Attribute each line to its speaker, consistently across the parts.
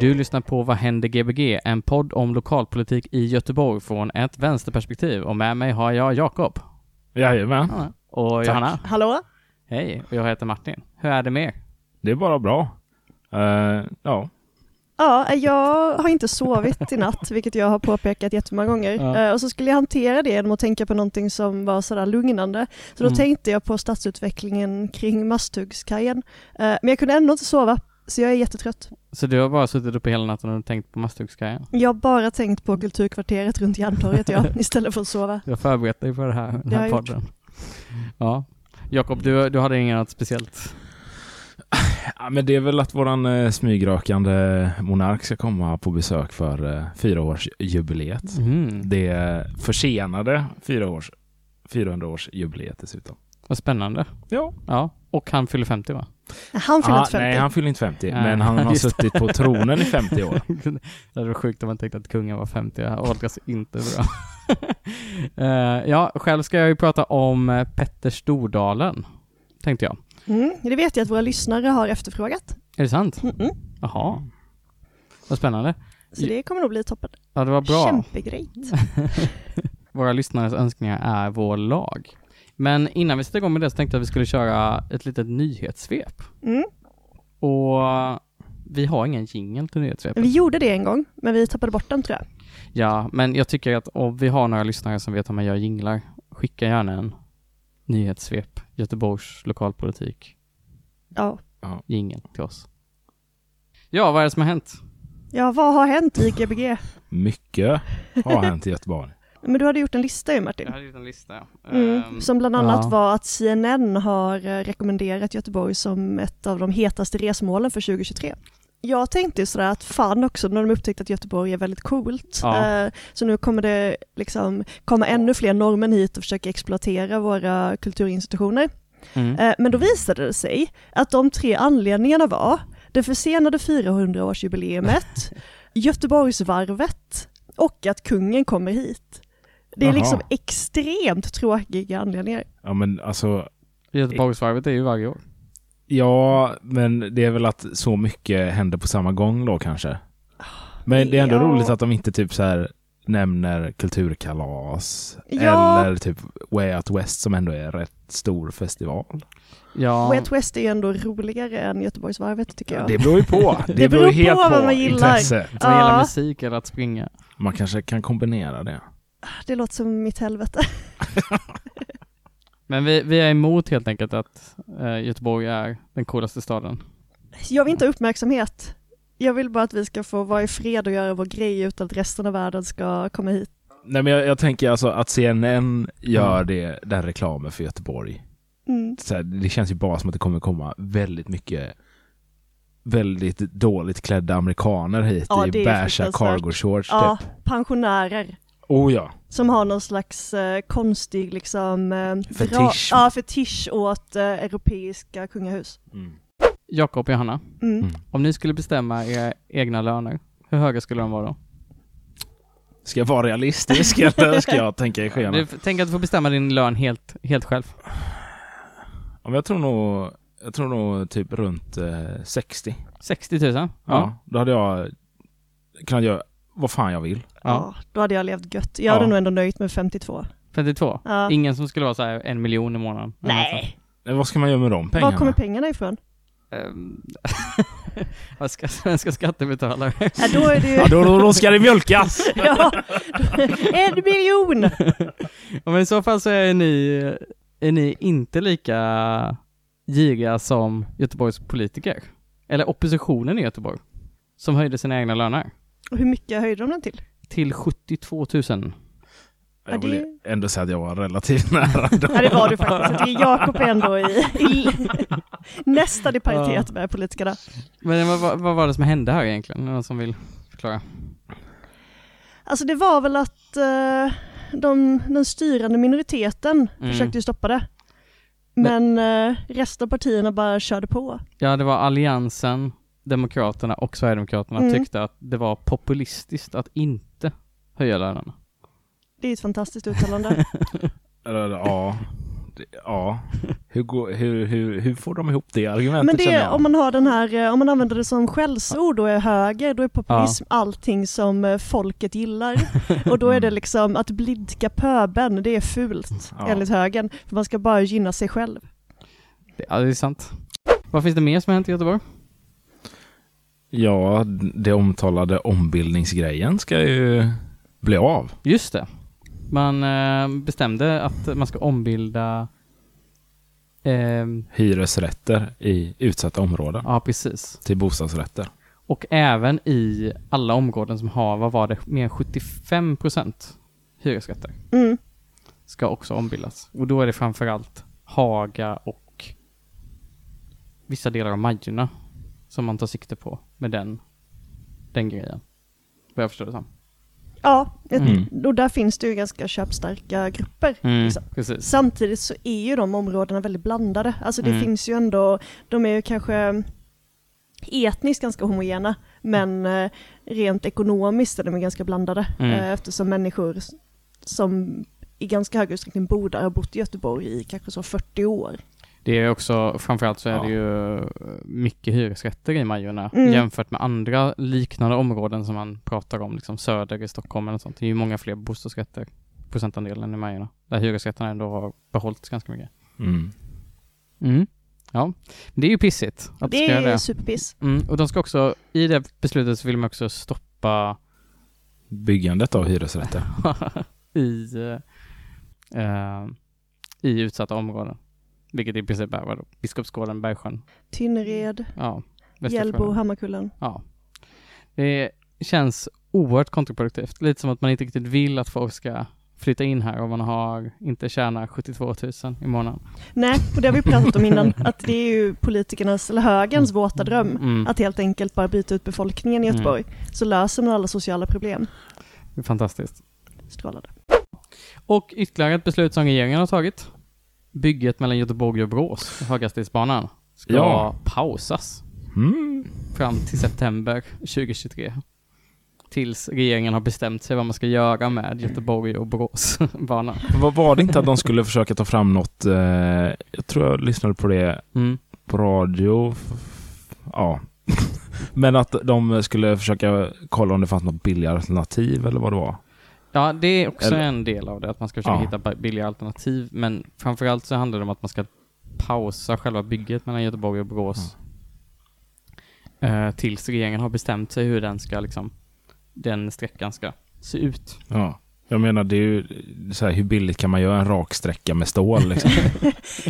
Speaker 1: Du lyssnar på Vad händer Gbg? En podd om lokalpolitik i Göteborg från ett vänsterperspektiv och med mig har jag Jakob.
Speaker 2: Jajamän.
Speaker 1: Ja. Och
Speaker 2: Tack.
Speaker 1: Johanna.
Speaker 3: Hallå?
Speaker 1: Hej, och jag heter Martin. Hur är det med er?
Speaker 2: Det är bara bra. Eh, ja.
Speaker 3: Ja, jag har inte sovit i natt, vilket jag har påpekat jättemånga gånger.
Speaker 1: Ja.
Speaker 3: Eh, Och så skulle jag hantera det genom att tänka på någonting som var sådär lugnande. Så då
Speaker 1: Mm.
Speaker 3: tänkte jag på stadsutvecklingen kring Masthuggskajen. Eh, Men jag kunde ändå inte sova, så jag är jättetrött.
Speaker 1: Så du har bara suttit uppe hela natten och tänkt på Masthuggskajen?
Speaker 3: Jag har bara tänkt på Kulturkvarteret runt Järntorget jag, istället för att sova.
Speaker 1: Jag har förberett dig för det här, den
Speaker 3: Det har
Speaker 1: här
Speaker 3: jag gjort.
Speaker 1: podden. Ja. Jakob, du, du hade inget annat speciellt?
Speaker 2: ja. Men det är väl att våran eh, smygrökande monark ska komma på besök för eh, fyraårsjubileet.
Speaker 1: Mm.
Speaker 2: Det är försenade fyraårs, 400-årsjubileet dessutom.
Speaker 1: Vad spännande.
Speaker 2: Ja.
Speaker 1: Ja, och han fyller 50 va?
Speaker 3: Han fyller inte 50.
Speaker 2: nej, han fyller inte 50,
Speaker 1: Nej,
Speaker 2: men han har
Speaker 1: just det.
Speaker 2: suttit på tronen i 50 år.
Speaker 1: det hade varit sjukt om man tänkte att kungen var 50. Det här åldras inte bra. Eh, ja, själv ska jag ju prata om eh, Petter Stordalen, tänkte jag.
Speaker 3: Mm, det vet jag att våra lyssnare har efterfrågat.
Speaker 1: Är det sant?
Speaker 3: Mm-mm.
Speaker 1: Jaha. Vad spännande.
Speaker 3: Så det kommer nog bli toppen.
Speaker 1: Ja, det var bra.
Speaker 3: Kämpegrejt.
Speaker 1: Våra lyssnares önskningar är vår lag. Men innan vi sätter igång med det så tänkte jag att vi skulle köra ett litet nyhetssvep.
Speaker 3: Mm.
Speaker 1: Och eh, vi har ingen jingel till nyhetssvepet.
Speaker 3: Vi gjorde det en gång, men vi tappade bort den tror jag.
Speaker 1: Ja, men jag tycker att om vi har några lyssnare som vet hur man gör jinglar, skicka gärna en nyhetssvep, Göteborgs lokalpolitik,
Speaker 3: Ja.
Speaker 1: jingel till oss. Ja, vad är det som har hänt?
Speaker 3: ja, vad har hänt i Gbg?
Speaker 2: Mycket har hänt i Göteborg.
Speaker 3: Men du hade gjort en lista ju Martin.
Speaker 1: hade gjort en lista. Ehm,
Speaker 3: Mm. Som bland annat
Speaker 1: ja.
Speaker 3: var att CNN har eh, rekommenderat Göteborg som ett av de hetaste resmålen för 2023. Jag tänkte ju sådär att fan också när de upptäckte att Göteborg är väldigt coolt.
Speaker 1: Ja.
Speaker 3: Eh, Så nu kommer det liksom komma ännu fler norrmän hit och försöka exploatera våra kulturinstitutioner.
Speaker 1: Mm.
Speaker 3: Eh, Men då visade det sig att de tre anledningarna var det försenade 400-årsjubileumet, Göteborgsvarvet och att kungen kommer hit. Det är
Speaker 2: Jaha.
Speaker 3: liksom extremt tråkiga anledningar.
Speaker 2: Ja, men alltså,
Speaker 1: Göteborgsvarvet är ju varje år.
Speaker 2: ja, men det är väl att så mycket händer på samma gång då kanske. Men det är ändå
Speaker 3: Ja.
Speaker 2: roligt att de inte typ så här nämner kulturkalas
Speaker 3: Ja.
Speaker 2: eller typ Way Out West som ändå är rätt stor festival.
Speaker 1: Ja,
Speaker 3: Way Out West är ju ändå roligare än Göteborgsvarvet tycker jag.
Speaker 2: Det beror ju på. Det, beror
Speaker 3: Det beror
Speaker 2: ju helt
Speaker 3: på
Speaker 2: på,
Speaker 3: vad man gillar.
Speaker 2: intresset.
Speaker 1: man gillar
Speaker 3: Ja.
Speaker 1: musik eller att springa.
Speaker 2: Man kanske kan kombinera det.
Speaker 3: Det låter som mitt helvete.
Speaker 1: Men vi, vi är emot helt enkelt att eh, Göteborg är den coolaste staden.
Speaker 3: Jag vill inte ha uppmärksamhet. Jag vill bara att vi ska få vara i fred och göra vår grej utan att resten av världen ska komma hit.
Speaker 2: Nej men jag, jag tänker alltså att CNN gör det, den reklamen för Göteborg.
Speaker 3: Mm.
Speaker 2: Så här, det känns ju bara som att det kommer komma väldigt mycket väldigt dåligt klädda amerikaner hit
Speaker 3: Ja,
Speaker 2: i
Speaker 3: det är
Speaker 2: beiga
Speaker 3: fruktansvärt.
Speaker 2: cargo shorts
Speaker 3: Ja,
Speaker 2: typ.
Speaker 3: pensionärer
Speaker 2: Oh ja.
Speaker 3: som har någon slags eh, konstig liksom eh, dra-
Speaker 2: Fetisch.
Speaker 3: ja, fetisch åt eh, europeiska kungahus.
Speaker 1: Jakob och Johanna,
Speaker 3: Mm.
Speaker 2: Mm.
Speaker 1: om ni skulle bestämma era egna löner, hur höga skulle de vara då?
Speaker 2: Ska jag vara realistisk eller ska jag tänka i
Speaker 1: Du,
Speaker 2: skenet?
Speaker 1: tänk att du får bestämma din lön helt, helt själv.
Speaker 2: Ja, men jag tror nog, jag tror nog typ runt eh, 60.
Speaker 1: 60 000? Ja.
Speaker 2: Ja, då hade jag kunnat göra vad fan jag vill.
Speaker 3: Ja. då hade jag levt gött. Jag hade
Speaker 2: Ja.
Speaker 3: nog ändå nöjt med 52.
Speaker 1: 52?
Speaker 3: Ja.
Speaker 1: Ingen som skulle vara så här en miljon i månaden? alltså,
Speaker 3: Nej,
Speaker 2: Men vad ska man göra med de pengarna?
Speaker 3: var kommer pengarna ifrån?
Speaker 1: Ehm, Vad ska svenska skattebetalare?
Speaker 3: Ja, då är det ju...
Speaker 2: Ja, då, då, då ska det mjölkas!
Speaker 3: ja, en miljon!
Speaker 1: Ja, men i så fall så är ni, är ni inte lika giriga som Göteborgs politiker. Eller oppositionen i Göteborg. Som höjde sina egna löner.
Speaker 3: Och Hur mycket höjde de den till?
Speaker 1: Till 72 000.
Speaker 3: Ja,
Speaker 2: Jag
Speaker 3: det-
Speaker 2: vill ändå säga att jag var relativt nära.
Speaker 3: Ja det var du faktiskt. Det är Jakob ändå i, i nästan i paritet med politikerna.
Speaker 1: Men vad, vad, vad var det som hände här egentligen? Någon som vill förklara?
Speaker 3: Alltså det var väl att eh, de, den styrande minoriteten
Speaker 1: Mm.
Speaker 3: försökte ju stoppa det. Men eh, resten av partierna bara körde på.
Speaker 1: Ja, det var Alliansen, Demokraterna och Sverigedemokraterna
Speaker 3: Mm.
Speaker 1: tyckte att det var populistiskt att inte höja lönerna.
Speaker 3: Det är ett fantastiskt uttalande.
Speaker 2: Eller, ja. Det- Ja. Hur, går, hur, hur, hur får de ihop det argumentet
Speaker 3: Men
Speaker 2: känner
Speaker 3: det,
Speaker 2: jag?
Speaker 3: om man har den här, eh, om man använder det som skällsord och är höger, då är populism allting som eh, folket gillar. Och då är det liksom att blidka pöbeln, det är fult
Speaker 2: Mm. Ja.
Speaker 3: enligt högern. För man ska bara gynna sig själv.
Speaker 1: Det, ja, det är sant. Vad finns det mer som har hänt i Göteborg?
Speaker 2: Ja, det omtalade ombildningsgrejen ska ju bli av.
Speaker 1: Just det. Man eh, bestämde att man ska ombilda... Eh,
Speaker 2: Hyresrätter i utsatta områden
Speaker 1: ja, precis.
Speaker 2: till bostadsrätter.
Speaker 1: Och även i alla områden som har, vad var det, mer än 75% hyresrätter
Speaker 3: Mm.
Speaker 1: ska också ombildas. Och då är det framförallt Haga och vissa delar av Majorna som man tar sikte på med den, den grejen. Vad jag förstår det som.
Speaker 3: Ja, ett,
Speaker 2: Mm.
Speaker 3: och där finns det ju ganska köpstarka grupper. liksom.
Speaker 1: Precis.
Speaker 3: Samtidigt så är ju de områdena väldigt blandade. Alltså det
Speaker 1: Mm.
Speaker 3: finns ju ändå, de är ju kanske etniskt ganska homogena, men eh, rent ekonomiskt är de ju ganska blandade.
Speaker 1: Mm.
Speaker 3: eh, Eftersom människor s- som i ganska hög utsträckning bor där har bott i Göteborg i kanske så 40 år.
Speaker 1: Det är också, framförallt så är
Speaker 2: Ja.
Speaker 1: det ju eh, mycket hyresrätter i Majorna
Speaker 3: Mm.
Speaker 1: jämfört med andra liknande områden som man pratar om, liksom söder i Stockholm eller sånt. Det är ju många fler bostadsrätter, procentandelen i Majorna, där hyresrätterna ändå har behållits ganska mycket.
Speaker 2: Mm.
Speaker 1: Mm. Ja, Men det är ju pissigt att
Speaker 3: det
Speaker 1: ska
Speaker 3: är
Speaker 1: göra det.
Speaker 3: superpiss.
Speaker 1: Mm. Och de ska också, i det beslutet så vill man också stoppa
Speaker 2: Byggandet av hyresrätter.
Speaker 1: i, eh, eh, i utsatta områden. Vilket i princip är vadå? Biskopsgården, Bergsjön,
Speaker 3: Tynnered,
Speaker 1: ja,
Speaker 3: Hjällbo,
Speaker 1: Västersjön.
Speaker 3: Hammarkullen.
Speaker 1: Ja. Det känns oerhört kontraproduktivt. Lite som att man inte riktigt vill att folk ska flytta in här om man har, inte tjänar 72 000 i månaden.
Speaker 3: Nej, och det har vi pratat om innan, att det är ju politikernas, eller högerns, våta dröm.
Speaker 1: Mm.
Speaker 3: Att helt enkelt bara byta ut befolkningen i
Speaker 1: Mm.
Speaker 3: Göteborg, så löser man alla sociala problem.
Speaker 1: Det är fantastiskt.
Speaker 3: Strålande.
Speaker 1: Och ytterligare ett beslut som regeringen har tagit. Bygget mellan Göteborg och Brås, höghastighetsbanan, ska
Speaker 2: Ja.
Speaker 1: pausas
Speaker 2: Mm.
Speaker 1: fram till september 2023. Tills regeringen har bestämt sig vad man ska göra med Göteborg och Boråsbanan.
Speaker 2: Var, var det inte att de skulle försöka ta fram något, eh, jag tror jag lyssnade på det
Speaker 1: Mm.
Speaker 2: på radio. f- f- Ja. Men att de skulle försöka kolla om det fanns något billigare alternativ eller vad det var.
Speaker 1: Ja, det är också
Speaker 2: Eller-
Speaker 1: en del av det, att man ska försöka
Speaker 2: Ja.
Speaker 1: hitta ba- billiga alternativ. Men framförallt så handlar det om att man ska pausa själva bygget mellan Göteborg och Borås. Eh, tills regeringen har bestämt sig hur den ska, liksom, den sträckan ska se ut.
Speaker 2: Ja. Jag menar, det är ju så här, hur billigt kan man göra en rak sträcka med stål liksom?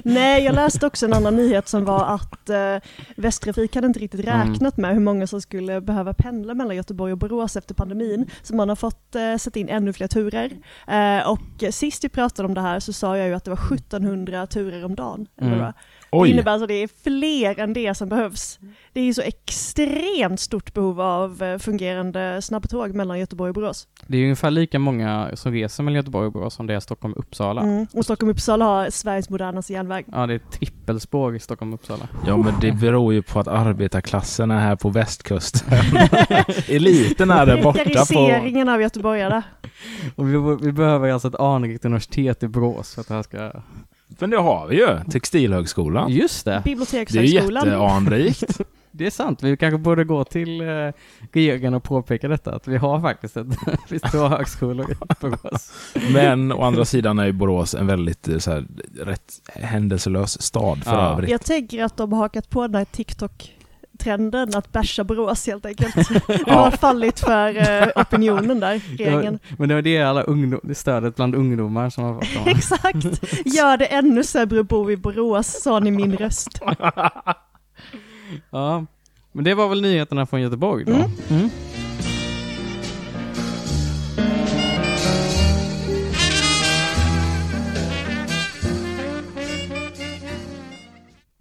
Speaker 3: Nej, jag läste också en annan nyhet som var att eh, Västtrafik hade inte riktigt
Speaker 1: Mm.
Speaker 3: räknat med hur många som skulle behöva pendla mellan Göteborg och Borås efter pandemin. Så man har fått eh, sätta in ännu fler turer. Eh, och sist vi pratade om det här så sa jag ju att det var 1700 turer om dagen. Eller
Speaker 1: Mm.
Speaker 3: vad det var. Det
Speaker 2: Oj!
Speaker 3: innebär alltså att det är fler än det som behövs. Det är ju så extremt stort behov av eh, fungerande snabbtåg mellan Göteborg och Borås.
Speaker 1: Det är ungefär lika många som reser mellan Göteborg och Borås som det är Stockholm och Uppsala.
Speaker 3: Mm. Och Stockholm-Uppsala har Sveriges modernaste järnväg.
Speaker 1: Ja, det är trippelspår i Stockholm och Uppsala.
Speaker 2: Ja, men det beror ju på att arbetarklassen är här på västkusten. Eliten är där borta på...
Speaker 3: Prekariseringen av göteborgarna.
Speaker 1: Och vi, vi behöver alltså ett anrikt universitet i Borås för att det här ska...
Speaker 2: Men det har vi ju, Textilhögskolan.
Speaker 1: Just det!
Speaker 2: Det är ju
Speaker 3: Bibliotekshögskolan.
Speaker 2: jätteanrikt.
Speaker 1: Det är sant. Vi kanske borde gå till eh, regeringen och påpeka detta, att vi har faktiskt ett, vi två högskolor i Borås.
Speaker 2: Men å andra sidan är ju Borås en väldigt eh, så här, rätt händelselös stad för
Speaker 1: Ja.
Speaker 2: övrigt.
Speaker 3: Jag tänker att de har hakat på den här TikTok-trenden att bärsa Borås helt enkelt. Det har fallit för eh, opinionen där, regeringen.
Speaker 1: Det var- Men det var det alla ungdom, det stödet bland ungdomar som har fått. dem.
Speaker 3: Exakt! Gör det ännu sämre att bo i Borås, sa ni min röst.
Speaker 1: Ja. Men det var väl nyheterna från Göteborg då?
Speaker 3: Mm.
Speaker 1: Mm.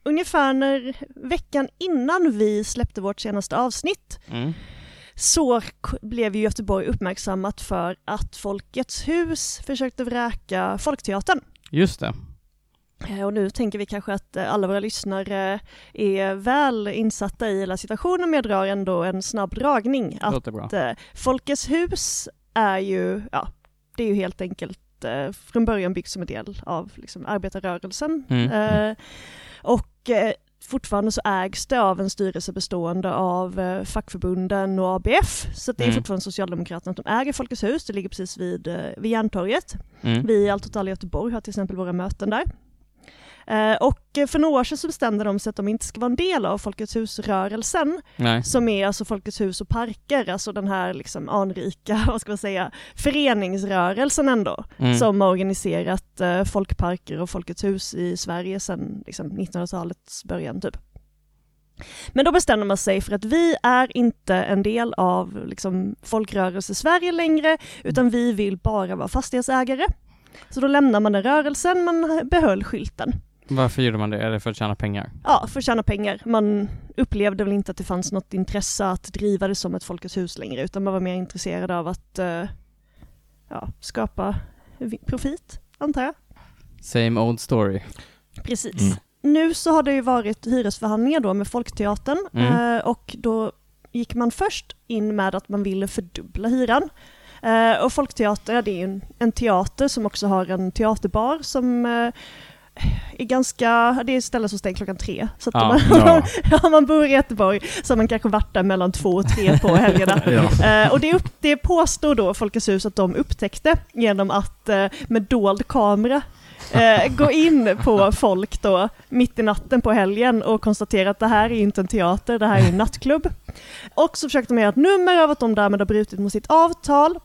Speaker 3: Ungefär när veckan innan vi släppte vårt senaste avsnitt
Speaker 1: Mm.
Speaker 3: så k- blev ju Göteborg uppmärksammat för att Folkets hus försökte vräka Folkteatern.
Speaker 1: Just det.
Speaker 3: Eh, Och nu tänker vi kanske att eh, alla våra lyssnare eh, är väl insatta i hela situationen, men jag drar ändå en snabb dragning. Att
Speaker 1: Låter bra.
Speaker 3: eh, Folkets hus är ju, ja, det är ju helt enkelt eh, från början byggt som en del av liksom, arbetarrörelsen.
Speaker 1: Mm.
Speaker 3: Eh, och eh, fortfarande så ägs det av en styrelse bestående av eh, fackförbunden och ABF. Så att det är
Speaker 1: Mm.
Speaker 3: fortfarande Socialdemokraterna som äger Folkets hus, det ligger precis vid, eh, vid Järntorget.
Speaker 1: Mm.
Speaker 3: Vi i Allt åt alla i Göteborg har till exempel våra möten där. Eh, Och eh, för några år sedan så bestämde de sig att de inte ska vara en del av Folkets hus-rörelsen
Speaker 1: Nej.
Speaker 3: som är alltså Folkets hus och parker, alltså den här liksom anrika, vad ska man säga, föreningsrörelsen ändå,
Speaker 1: Mm.
Speaker 3: som har organiserat eh, folkparker och Folkets hus i Sverige sedan liksom, 1900-talets början typ. Men då bestämde man sig för att vi är inte en del av liksom, folkrörelse Sverige längre, utan vi vill bara vara fastighetsägare. Så då lämnar man den rörelsen, man behöll skylten.
Speaker 1: Varför gjorde man det? Är det för att tjäna pengar?
Speaker 3: Ja, för att tjäna pengar. Man upplevde väl inte att det fanns något intresse att driva det som ett Folkets hus längre, utan man var mer intresserad av att eh, ja, skapa vi- profit, antar jag.
Speaker 1: Same old story.
Speaker 3: Precis.
Speaker 2: Mm.
Speaker 3: Nu så har det ju varit hyresförhandlingar då med Folkteatern
Speaker 1: Mm.
Speaker 3: eh, och då gick man först in med att man ville fördubbla hyran. Eh, och Folkteatern, ja, det är ju en, en teater som också har en teaterbar som eh, är ganska, det är ett ställe som stängs klockan tre. Så att
Speaker 1: Ja,
Speaker 3: om man,
Speaker 2: Ah, ja.
Speaker 3: ja. om man bor i Göteborg så har man kanske varit där mellan två och tre på helgerna.
Speaker 2: Ja.
Speaker 3: Eh, och det, upp, det påstår då Folkets hus att de upptäckte genom att eh, med dold kamera eh, gå in på folk då mitt i natten på helgen och konstatera att det här är ju inte en teater, det här är en nattklubb. Och så försökte de göra ett nummer av att de därmed har brutit mot sitt avtal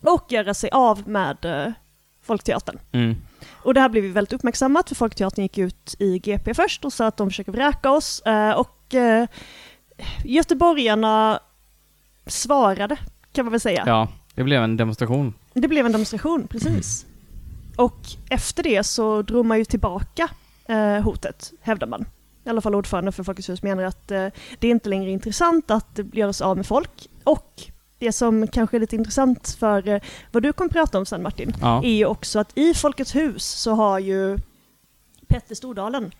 Speaker 3: och göra sig av med eh, Folkteatern.
Speaker 1: Mm.
Speaker 3: Och det här blev ju väldigt uppmärksammat för Folkteatern gick ut i GP först och sa att de försöker vräka oss eh, och eh, göteborgarna svarade kan man väl säga.
Speaker 1: Ja, det blev en demonstration.
Speaker 3: Det blev en demonstration, precis. Och efter det så drog man ju tillbaka eh, hotet, hävdar man. I alla fall ordföranden för Folkets hus menar att eh, det är inte längre intressant att göra sig av med folk. Och det som kanske är lite intressant för eh, vad du kommer prata om sen Martin,
Speaker 1: Ja.
Speaker 3: är ju också att i Folkets hus så har ju Petter Stordalen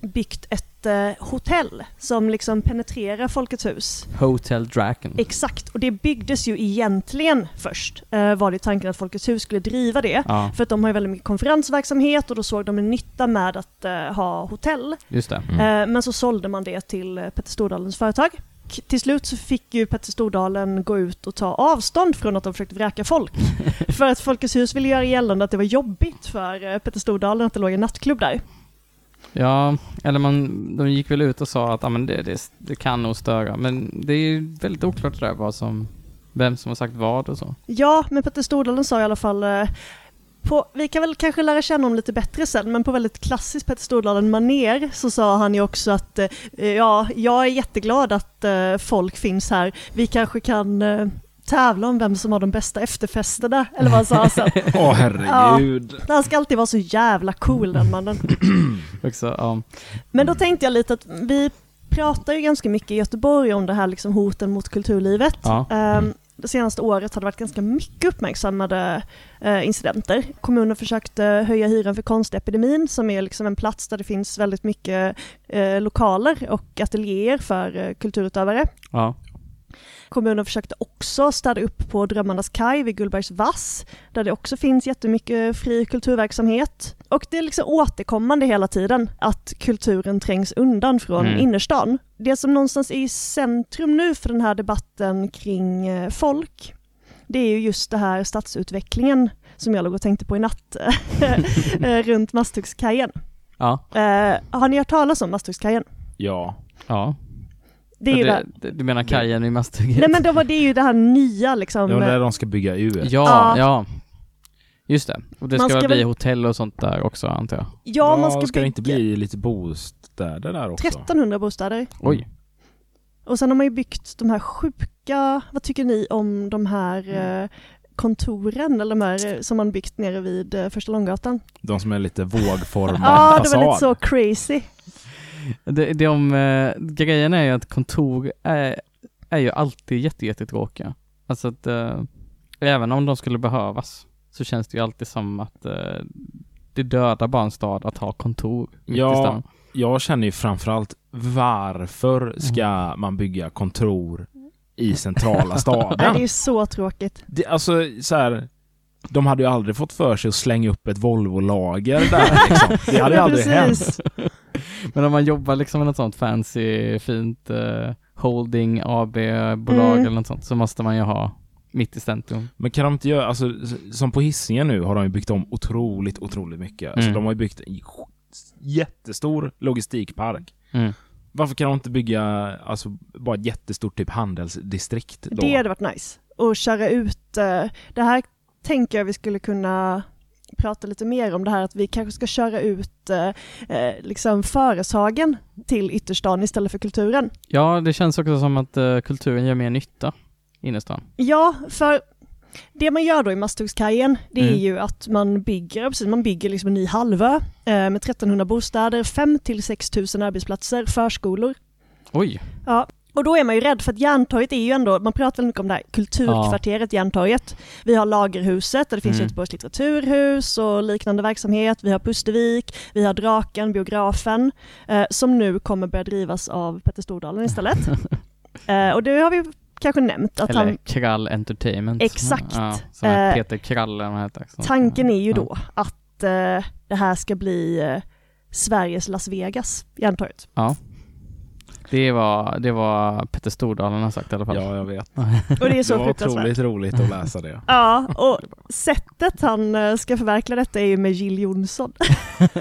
Speaker 3: byggt ett eh, hotell som liksom penetrerar Folkets hus.
Speaker 1: Hotel Draken.
Speaker 3: Exakt, och det byggdes ju egentligen först, eh, var det tanken att Folkets hus skulle driva det.
Speaker 1: Ja,
Speaker 3: För att de har ju väldigt mycket konferensverksamhet och då såg de en nytta med att eh, ha hotell.
Speaker 1: just det.
Speaker 3: Eh, men så sålde man det till eh, Petter Stordalens företag. K- Till slut så fick ju Petter Stordalen gå ut och ta avstånd från att de försökte vräka folk. för att Folkets hus ville göra gällande att det var jobbigt för eh, Petter Stordalen att det låg en nattklubb där.
Speaker 1: Ja, eller man, de gick väl ut och sa att ah, men det, det, det kan nog störa. Men det är ju väldigt oklart det där vad som, vem som har sagt vad och så.
Speaker 3: Ja, men Petter Stordalen sa i alla fall eh, på, vi kan väl kanske lära känna honom lite bättre sen, men på väldigt klassiskt Petter Stordalen-manér så sa han ju också att eh, ja, jag är jätteglad att eh, folk finns här. Vi kanske kan eh, tävla om vem som har de bästa efterfesterna, eller vad han sa sen.
Speaker 2: Åh herregud.
Speaker 3: Han ska alltid vara så jävla cool den mannen.
Speaker 1: Också, ja.
Speaker 3: Men då tänkte jag lite att vi pratar ju ganska mycket i Göteborg om det här liksom hoten mot kulturlivet.
Speaker 1: Ja.
Speaker 3: Ehm, det senaste året har det varit ganska mycket uppmärksammade eh, incidenter. Kommunen försökte höja hyran för konstepidemin som är liksom en plats där det finns väldigt mycket eh, lokaler och ateljéer för eh, kulturutövare.
Speaker 1: ja.
Speaker 3: Kommunen försökte också städa upp på Drömmarnas kaj vid Gullbergs vass, där det också finns jättemycket fri kulturverksamhet. Och det är liksom återkommande hela tiden att kulturen trängs undan från
Speaker 1: Mm.
Speaker 3: innerstan. Det som någonstans är i centrum nu för den här debatten kring eh, folk, det är ju just det här stadsutvecklingen som jag låg och tänkte på i natt eh, runt Masthugskajen.
Speaker 1: Ja.
Speaker 3: Eh, har ni hört talas om Masthugskajen?
Speaker 2: Ja.
Speaker 1: ja.
Speaker 3: Det är ju det,
Speaker 1: det, du menar kajen i Masthugget?
Speaker 3: Nej men det, var, det är ju det här nya liksom.
Speaker 2: Det var där de ska bygga ut.
Speaker 1: Ja,
Speaker 3: Ja.
Speaker 1: ja. Just det. Och det
Speaker 3: Man
Speaker 1: ska, väl
Speaker 3: ska
Speaker 1: bli
Speaker 3: väl-
Speaker 1: hotell och sånt där också antar jag.
Speaker 3: ja, man ska,
Speaker 2: ska det inte
Speaker 3: bygga-
Speaker 2: bli lite bostäder där också?
Speaker 3: 1300 bostäder.
Speaker 1: Oj.
Speaker 3: Och sen har man ju byggt de här sjuka, vad tycker ni om de här
Speaker 2: Mm.
Speaker 3: eh, kontoren eller de här eh, som man byggt nere vid eh, Första Långgatan?
Speaker 2: De som är lite vågformad
Speaker 3: Ja, det var
Speaker 2: fasad.
Speaker 3: lite så crazy.
Speaker 1: Det, det om, eh, grejen är ju att kontor är, är ju alltid jätte, jättetråkiga. Alltså att eh, även om de skulle behövas så känns det ju alltid som att eh, det dödar bara en stad att ha kontor mitt i
Speaker 2: Ja,
Speaker 1: stan.
Speaker 2: Jag känner ju framförallt varför ska
Speaker 3: Mm.
Speaker 2: man bygga kontor i centrala
Speaker 3: Nej,
Speaker 2: staden?
Speaker 3: det är ju så tråkigt.
Speaker 2: Det, alltså så här, de hade ju aldrig fått för sig att slänga upp ett Volvo-lager där liksom. Det hade ju
Speaker 3: Ja,
Speaker 2: aldrig hänt.
Speaker 3: precis.
Speaker 1: Men om man jobbar liksom med något sånt fancy, fint eh, holding, AB-bolag
Speaker 3: Mm.
Speaker 1: eller något sånt så måste man ju ha mitt i centrum.
Speaker 2: Men kan de inte göra, alltså s- som på Hisingen nu har de ju byggt om otroligt, otroligt mycket. Alltså
Speaker 1: Mm.
Speaker 2: de har ju byggt en j- jättestor logistikpark.
Speaker 1: Mm.
Speaker 2: Varför kan de inte bygga, alltså bara ett jättestort typ handelsdistrikt då?
Speaker 3: Det hade varit nice. Och köra ut, eh, det här tänker jag vi skulle kunna prata lite mer om det här att vi kanske ska köra ut eh, eh, liksom företagen till ytterstan istället för kulturen.
Speaker 1: Ja, det känns också som att eh, kulturen gör mer nytta inne i stan.
Speaker 3: Ja, för det man gör då i Masthuggskajen, det är
Speaker 1: Mm.
Speaker 3: ju att man bygger, precis, man bygger liksom en ny halvö eh, med 1300 bostäder, 5 till 6 000 arbetsplatser, förskolor.
Speaker 1: Oj!
Speaker 3: Och då är man ju rädd för att Järntorget är ju ändå, man pratar väldigt mycket om det här kulturkvarteret Järntorget. Vi har Lagerhuset där det finns
Speaker 1: Mm.
Speaker 3: Göteborgs litteraturhus och liknande verksamhet. Vi har Pustervik, vi har Draken, biografen, eh, som nu kommer börja drivas av Petter Stordalen istället. eh, och det har vi kanske nämnt att
Speaker 1: Eller
Speaker 3: han
Speaker 1: Krall Entertainment.
Speaker 3: Exakt.
Speaker 1: Ja, som är
Speaker 3: Eh,
Speaker 1: Peter Krall eller vad han heter. Så-
Speaker 3: Tanken är ju
Speaker 1: Ja.
Speaker 3: då att eh, det här ska bli eh, Sveriges Las Vegas, Järntorget.
Speaker 1: Det var, det var Petter Stordalen har sagt i alla fall.
Speaker 2: Ja, jag vet.
Speaker 3: Och det är så
Speaker 2: det var
Speaker 3: fruktansvärt.
Speaker 2: otroligt roligt att läsa det.
Speaker 3: Ja, och sättet han eh, ska förverkliga detta är ju med Jill Johnson.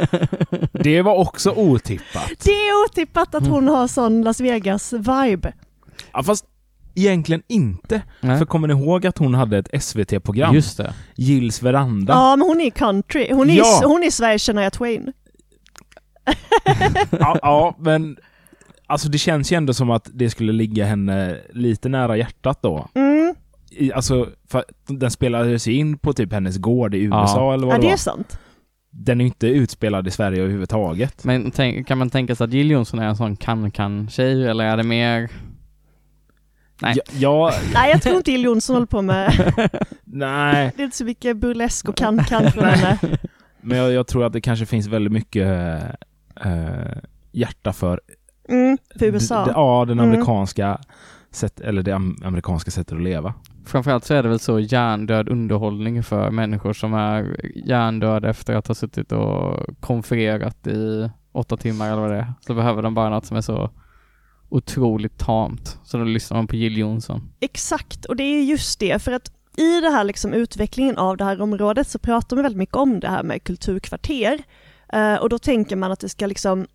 Speaker 2: Det var också otippat.
Speaker 3: Det är otippat att hon har sån Las Vegas-vibe.
Speaker 2: Ja, fast egentligen inte.
Speaker 1: Nej.
Speaker 2: För kommer ni ihåg att hon hade ett SVT-program?
Speaker 1: Just det.
Speaker 2: Gills veranda.
Speaker 3: Ja, men hon är ju country. Hon är,
Speaker 2: Ja.
Speaker 3: hon är Sveriges Shania Twain.
Speaker 2: Ja, ja, men alltså det känns ju ändå som att det skulle ligga henne lite nära hjärtat då.
Speaker 3: Mm.
Speaker 2: I, alltså, för att den spelades ju in på typ hennes gård i
Speaker 1: Ja.
Speaker 2: USA eller vad
Speaker 3: Ja,
Speaker 2: det
Speaker 3: det är
Speaker 2: var.
Speaker 3: sant.
Speaker 2: Den är ju inte utspelad i Sverige överhuvudtaget.
Speaker 1: Men tänk, kan man tänka sig att Jill Johnson är en sån kan-kan-tjej eller är det mer... Nej.
Speaker 2: Ja, ja,
Speaker 3: Nej, jag tror inte Jill Johnson håller på med...
Speaker 2: nej.
Speaker 3: Det är inte så mycket burlesk och kan-kan från henne.
Speaker 2: Men jag, jag tror att det kanske finns väldigt mycket eh, hjärta för
Speaker 3: Mm, för
Speaker 2: D- d-
Speaker 3: USA.
Speaker 2: ja, den
Speaker 3: Mm.
Speaker 2: amerikanska sätt, eller det am- amerikanska sättet att leva.
Speaker 1: Framförallt så är det väl så hjärndöd underhållning för människor som är hjärndöda efter att ha suttit och konfererat i åtta timmar eller vad det är. Så behöver de bara något som är så otroligt tamt. Så då lyssnar man på Jill Johnson.
Speaker 3: Exakt, och det är just det, för att i det här liksom utvecklingen av det här området så pratar man väldigt mycket om det här med kulturkvarter Eh, och då tänker man att det ska liksom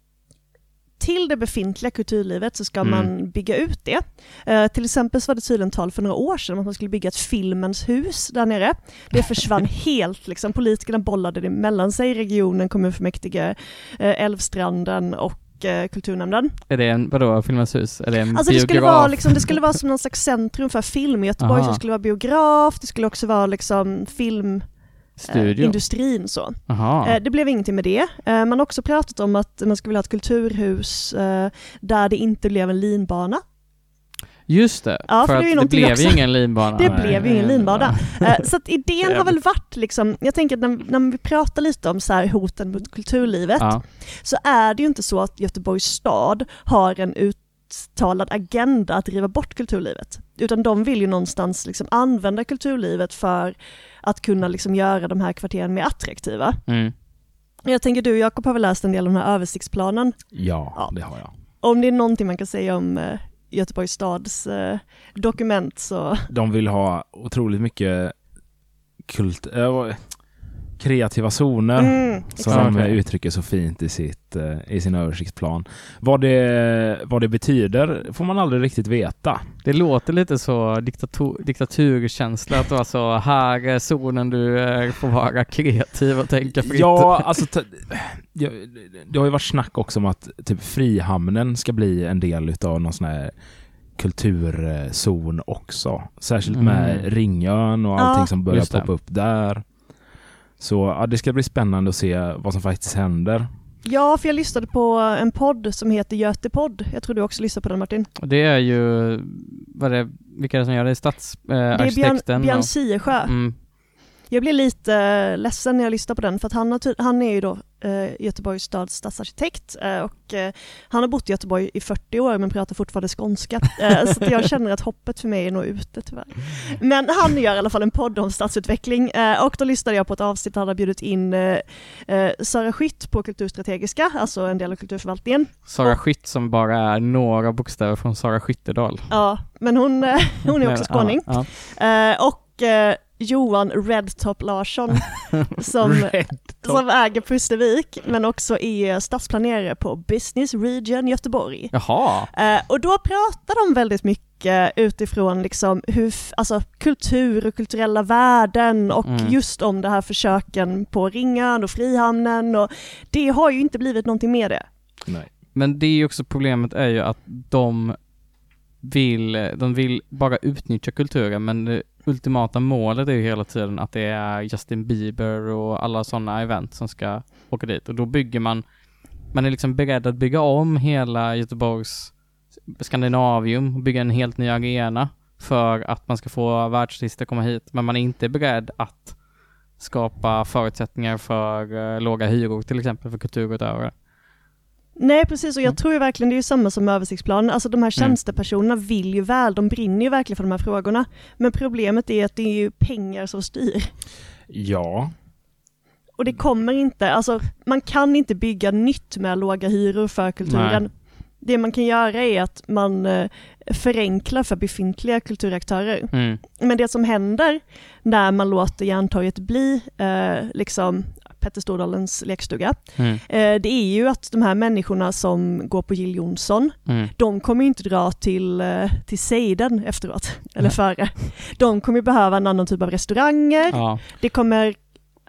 Speaker 3: till det befintliga kulturlivet så ska
Speaker 1: Mm.
Speaker 3: man bygga ut det. Eh, till exempel så var det tydligen tal för några år sedan om att man skulle bygga ett filmens hus där nere. Det försvann helt, liksom. politikerna bollade det mellan sig, regionen, kommunfullmäktige, eh, Älvstranden och eh, kulturnämnden.
Speaker 1: Är det en, vadå, Filmens hus? Är det en
Speaker 3: Alltså det
Speaker 1: biograf?
Speaker 3: skulle, vara liksom, det skulle vara som någon slags centrum för film i Göteborg,
Speaker 1: Aha.
Speaker 3: så det skulle vara biograf, det skulle också vara liksom filmindustrin
Speaker 1: Studio?
Speaker 3: så.
Speaker 1: Jaha.
Speaker 3: Eh, Det blev ingenting med det. Eh, Man har också pratat om att man skulle vilja ha ett kulturhus eh, där det inte blev en linbana.
Speaker 1: Just det,
Speaker 3: Ja, för
Speaker 1: för,
Speaker 3: det är ju
Speaker 1: att det
Speaker 3: någonting
Speaker 1: blev ju
Speaker 3: också.
Speaker 1: ingen linbana.
Speaker 3: Det
Speaker 2: Nej.
Speaker 3: blev ju ingen linbana. Eh, Så att idén har väl varit liksom, jag tänker att när, när vi pratar lite om så här hoten mot kulturlivet,
Speaker 1: Ja.
Speaker 3: så är det ju inte så att Göteborgs stad har en uttalad agenda att driva bort kulturlivet. Utan de vill ju någonstans liksom använda kulturlivet för att kunna liksom göra de här kvarteren mer attraktiva.
Speaker 1: Mm.
Speaker 3: Jag tänker du Jakob har väl läst en del om den här översiktsplanen.
Speaker 2: Ja,
Speaker 3: Ja.
Speaker 2: det har jag.
Speaker 3: Om det är någonting man kan säga om eh, Göteborgs stads eh, dokument så
Speaker 2: De vill ha otroligt mycket kult, eh, vad- kreativa zoner.
Speaker 3: mm,
Speaker 2: Som
Speaker 3: exakt.
Speaker 2: de
Speaker 1: Okej.
Speaker 2: uttrycker så fint i, sitt, eh, i sin översiktsplan. Vad det, vad det betyder får man aldrig riktigt veta.
Speaker 1: Det låter lite så diktator, diktaturkänsla att vara så här är zonen du eh, får vara kreativ och tänka fritt.
Speaker 2: Ja, alltså, ta, ja, det har ju varit snack också om att typ, Frihamnen ska bli en del utav någon sån här kulturzon också. Särskilt med
Speaker 1: Mm.
Speaker 2: Ringön och allting
Speaker 3: Ja.
Speaker 2: som börjar
Speaker 1: Just det.
Speaker 2: poppa upp där. Så ja, det ska bli spännande att se vad som faktiskt händer.
Speaker 3: Ja, för jag lyssnade på en podd som heter Götepodd. Jag tror du också lyssnar på den Martin.
Speaker 1: Det är ju, vad är det, vilka är det som gör det?
Speaker 3: Det är
Speaker 1: Stadsarkitekten?
Speaker 3: Björn, Björn Siesjö.
Speaker 1: mm,
Speaker 3: Jag blev lite eh, ledsen när jag lyssnade på den för att han, har, ty- han är ju då eh, Göteborgs stads stadsarkitekt eh, och eh, han har bott i Göteborg i 40 år men pratar fortfarande skånska. Eh, så att jag känner att hoppet för mig är nog ute tyvärr. Men han gör i alla fall en podd om stadsutveckling eh, och då lyssnade jag på ett avsnitt där han har bjudit in eh, eh, Sara Skytt på Kulturstrategiska, alltså en del av kulturförvaltningen.
Speaker 1: Sara Skytt som bara är några bokstäver från Sara Skyttedal.
Speaker 3: Ja, men hon, eh, hon är också
Speaker 1: Ja,
Speaker 3: skåning.
Speaker 1: ja.
Speaker 3: Eh, och eh, Johan Redtop Larsson som som äger Pustervik men också är stadsplanerare på Business Region Göteborg.
Speaker 1: Jaha,
Speaker 3: Eh, och då pratar de väldigt mycket utifrån liksom hur, f- alltså, kultur och kulturella värden och
Speaker 1: Mm.
Speaker 3: just om det här försöken på Ringön och Frihamnen och det har ju inte blivit någonting med det.
Speaker 2: Nej.
Speaker 1: men det är ju också problemet är ju att de vill, de vill bara utnyttja kulturen men det ultimata målet är ju hela tiden att det är Justin Bieber och alla sådana event som ska åka dit och då bygger man, man är liksom beredd att bygga om hela Göteborgs Skandinavium och bygga en helt ny arena för att man ska få världsartister komma hit men man är inte beredd att skapa förutsättningar för eh, låga hyror till exempel för kulturutövare.
Speaker 3: Nej precis och jag
Speaker 1: Mm.
Speaker 3: tror ju verkligen det är ju samma som med översiktsplanen, alltså de här tjänstepersonerna vill ju väl, de brinner ju verkligen för de här frågorna. Men problemet är att det är ju pengar som styr.
Speaker 2: Ja.
Speaker 3: Och
Speaker 1: Mm.
Speaker 3: det kommer inte, alltså man kan inte bygga nytt med låga hyror för kulturen.
Speaker 1: Nej.
Speaker 3: Det man kan göra är att man eh, förenklar för befintliga kulturaktörer.
Speaker 1: Mm.
Speaker 3: Men det som händer när man låter Järntorget bli eh, liksom Petter Stordalens lekstuga,
Speaker 1: Mm.
Speaker 3: eh, det är ju att de här människorna som går på Jill Johnson,
Speaker 1: Mm.
Speaker 3: de kommer ju inte dra till, eh, till Seiden efteråt, eller
Speaker 1: Nej.
Speaker 3: före. De kommer ju behöva en annan typ av restauranger,
Speaker 1: Ja.
Speaker 3: det kommer,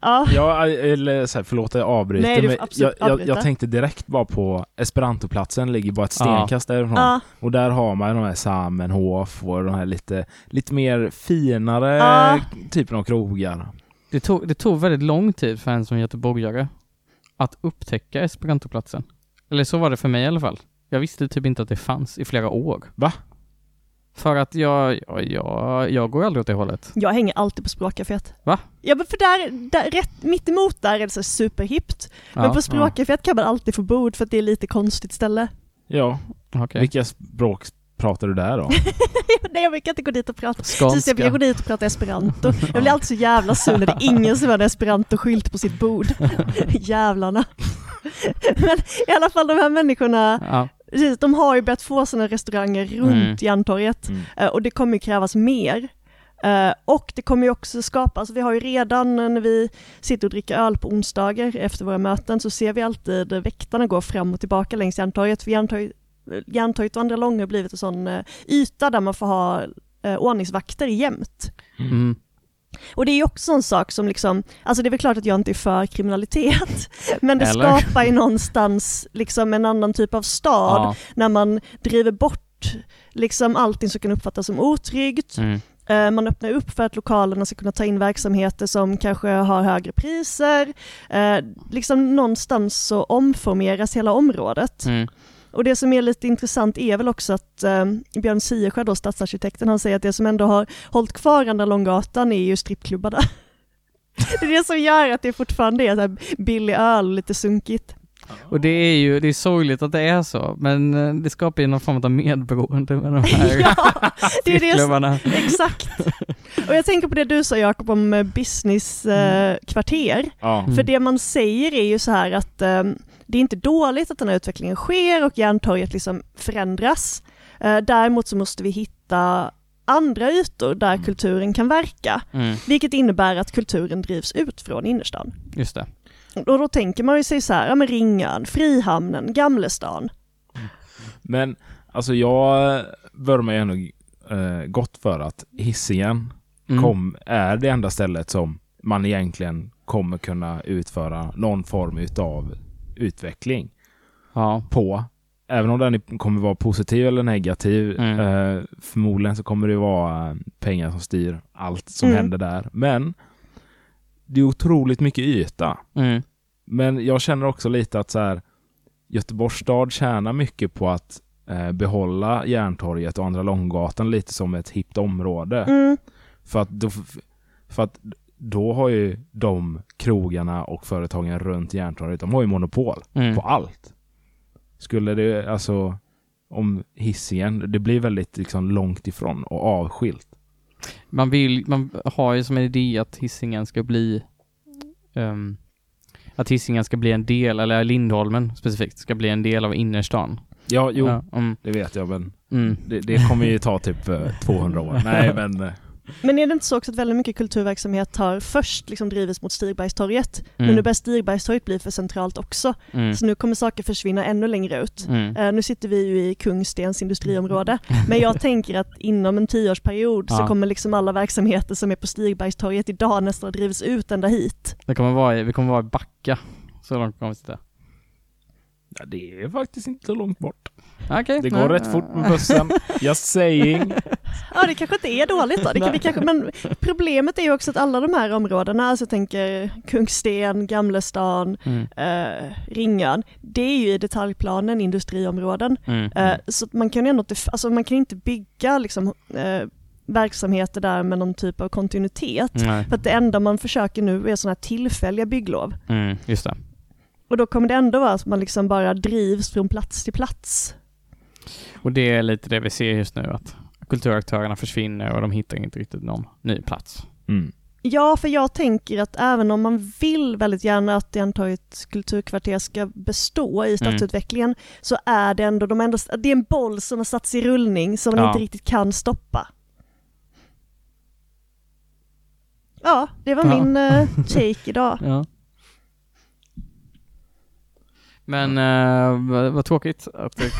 Speaker 3: ja.
Speaker 2: Ja, eller så här, förlåt att jag avbryter,
Speaker 3: Nej, du får
Speaker 2: men jag,
Speaker 3: absolut
Speaker 2: jag,
Speaker 3: avbryta.
Speaker 2: jag tänkte direkt bara på Esperantoplatsen, ligger bara ett
Speaker 1: Ja.
Speaker 2: stenkast därifrån.
Speaker 3: ja.
Speaker 2: Och där har man de här Samenhof och de här lite, lite mer finare
Speaker 3: Ja.
Speaker 2: typen av krogar.
Speaker 1: Det, tog, det tog väldigt lång tid för en som göteborgare att upptäcka esperantoplatsen. Eller så var det för mig i alla fall. Jag visste typ inte att det fanns i flera år.
Speaker 2: Va?
Speaker 1: För att jag, jag, jag, jag går aldrig åt det hållet.
Speaker 3: Jag hänger alltid på språkcaféet.
Speaker 1: Va?
Speaker 3: Ja men för där, där rätt, mitt emot där är det så superhippt. men på språkcaféet kan man alltid få bord för att det är lite konstigt ställe.
Speaker 2: Ja,
Speaker 1: Ja, okej.
Speaker 2: vilka språk pratar du där då?
Speaker 3: Nej jag brukar inte gå dit och prata. Precis, jag brukar gå
Speaker 1: Skånska.
Speaker 3: dit och prata esperanto. Jag blir alltid så jävla sur när det är ingen som har en esperanto-skylt på sitt bord. Jävlarna. Men i alla fall de här människorna,
Speaker 1: Ja.
Speaker 3: precis, de har ju börjat få sina restauranger runt
Speaker 1: Mm.
Speaker 3: Järntorget.
Speaker 2: Mm.
Speaker 3: Eh, och det kommer ju krävas mer. Eh, Och det kommer ju också skapas, vi har ju redan eh, när vi sitter och dricker öl på onsdagar efter våra möten så ser vi alltid eh, väktarna gå fram och tillbaka längs Järntorget. För Järntorget, eh, Järntorget och andra långa har blivit en sån eh, yta där man får ha eh, ordningsvakter jämt.
Speaker 1: Mm.
Speaker 3: Och det är ju också en sak som liksom, alltså det är väl klart att jag inte är för kriminalitet, men det
Speaker 1: Eller?
Speaker 3: skapar ju någonstans liksom en annan typ av stad
Speaker 1: Ja.
Speaker 3: när man driver bort liksom allting som kan uppfattas som otryggt,
Speaker 1: Mm.
Speaker 3: Eh, Man öppnar upp för att lokalerna ska kunna ta in verksamheter som kanske har högre priser. Eh, Liksom någonstans så omformeras hela området.
Speaker 1: Mm.
Speaker 3: Och det som är lite intressant är väl också att eh, Björn Siesjö, då, stadsarkitekten, han säger att det som ändå har hållit kvar Andra Långgatan är ju strippklubbarna. det är det som gör att det fortfarande är så här billig öl och lite sunkigt.
Speaker 1: Och det är ju, det är sorgligt att det är så, men eh, det skapar ju någon form av medberoende med de här
Speaker 3: ja, det är det som,
Speaker 1: strippklubbarna.
Speaker 3: exakt. Och jag tänker på det du sa Jakob om eh, businesskvarter.
Speaker 2: Ja.
Speaker 1: Mm.
Speaker 3: För det man säger är ju så här att eh, det är inte dåligt att den här utvecklingen sker och Järntorget liksom förändras. Eh, däremot så måste vi hitta andra ytor där
Speaker 2: Mm.
Speaker 3: kulturen kan verka,
Speaker 1: Mm.
Speaker 3: vilket innebär att kulturen drivs ut från innerstan.
Speaker 1: Just det.
Speaker 3: Och då tänker man ju sig så här, ja men Ringön, Frihamnen, Gamlestan.
Speaker 2: Men alltså jag vurmar ju ändå eh, gott för att Hisingen
Speaker 1: Mm.
Speaker 2: kom, är det enda stället som man egentligen kommer kunna utföra någon form utav utveckling
Speaker 1: Ja.
Speaker 2: på. Även om den är- kommer vara positiv eller negativ,
Speaker 1: Mm.
Speaker 2: eh, förmodligen så kommer det vara eh, pengar som styr allt som
Speaker 3: Mm.
Speaker 2: händer där. Men det är otroligt mycket yta.
Speaker 1: Mm.
Speaker 2: Men jag känner också lite att så här, Göteborgs stad tjänar mycket på att eh, behålla Järntorget och Andra Långgatan lite som ett hippt område.
Speaker 3: Mm.
Speaker 2: För att, då, för att då har ju de krogarna och företagen runt Järntorget, de har ju monopol
Speaker 1: Mm.
Speaker 2: på allt. Skulle det, alltså, om Hisingen, det blir väldigt liksom långt ifrån och avskilt.
Speaker 1: Man vill, man har ju som en idé att hissingen ska bli ehm, att hissingen ska bli en del, eller Lindholmen specifikt, ska bli en del av innerstan.
Speaker 2: Ja, jo,
Speaker 1: Ja, mm,
Speaker 2: det vet jag, men
Speaker 1: mm.
Speaker 2: det, det kommer ju ta typ eh, 200 år. Nej, men eh,
Speaker 3: Men är det inte så också att väldigt mycket kulturverksamhet har först liksom drivits mot Stigbergstorget, men
Speaker 1: Mm.
Speaker 3: nu börjar Stigbergstorget bli för centralt också,
Speaker 1: Mm.
Speaker 3: så nu kommer saker försvinna ännu längre ut.
Speaker 1: Mm.
Speaker 3: Eh, nu sitter vi ju i Kungstens industriområde, men jag tänker att inom en tioårsperiod så
Speaker 1: Ja.
Speaker 3: kommer liksom alla verksamheter som är på Stigbergstorget idag nästan drivs ut ända hit.
Speaker 1: Det kommer vara, i- vi kommer vara i Backa. Så långt kommer vi sitta.
Speaker 2: ja, det är faktiskt inte så långt bort.
Speaker 1: Okej.
Speaker 2: Det går rätt fort med bussen. Just saying.
Speaker 3: Ja, det kanske inte är dåligt då. Det kan vi kanske, men problemet är ju också att alla de här områdena, alltså jag tänker Kungsten, Gamlestan,
Speaker 1: Mm.
Speaker 3: eh, Ringön, det är ju i detaljplanen industriområden.
Speaker 1: Mm.
Speaker 3: Eh, Så att man kan ju ändå inte, f- alltså man kan inte bygga liksom, eh, verksamheter där med någon typ av kontinuitet.
Speaker 1: Nej.
Speaker 3: För att det enda man försöker nu är sådana här tillfälliga bygglov.
Speaker 1: Mm. Just det.
Speaker 3: Och då kommer det ändå vara att man liksom bara drivs från plats till plats.
Speaker 1: Och det är lite det vi ser just nu att kulturaktörerna försvinner och de hittar inte riktigt någon ny plats.
Speaker 2: Mm.
Speaker 3: Ja, för jag tänker att även om man vill väldigt gärna att Järntorgets kulturkvarter ska bestå
Speaker 1: Mm.
Speaker 3: i stadsutvecklingen så är det ändå, de ändå, det är en boll som har satts i rullning som de
Speaker 1: Ja.
Speaker 3: inte riktigt kan stoppa. Ja, det var
Speaker 1: Ja.
Speaker 3: min eh, take idag.
Speaker 1: Ja. Men eh, vad- vad tråkigt att det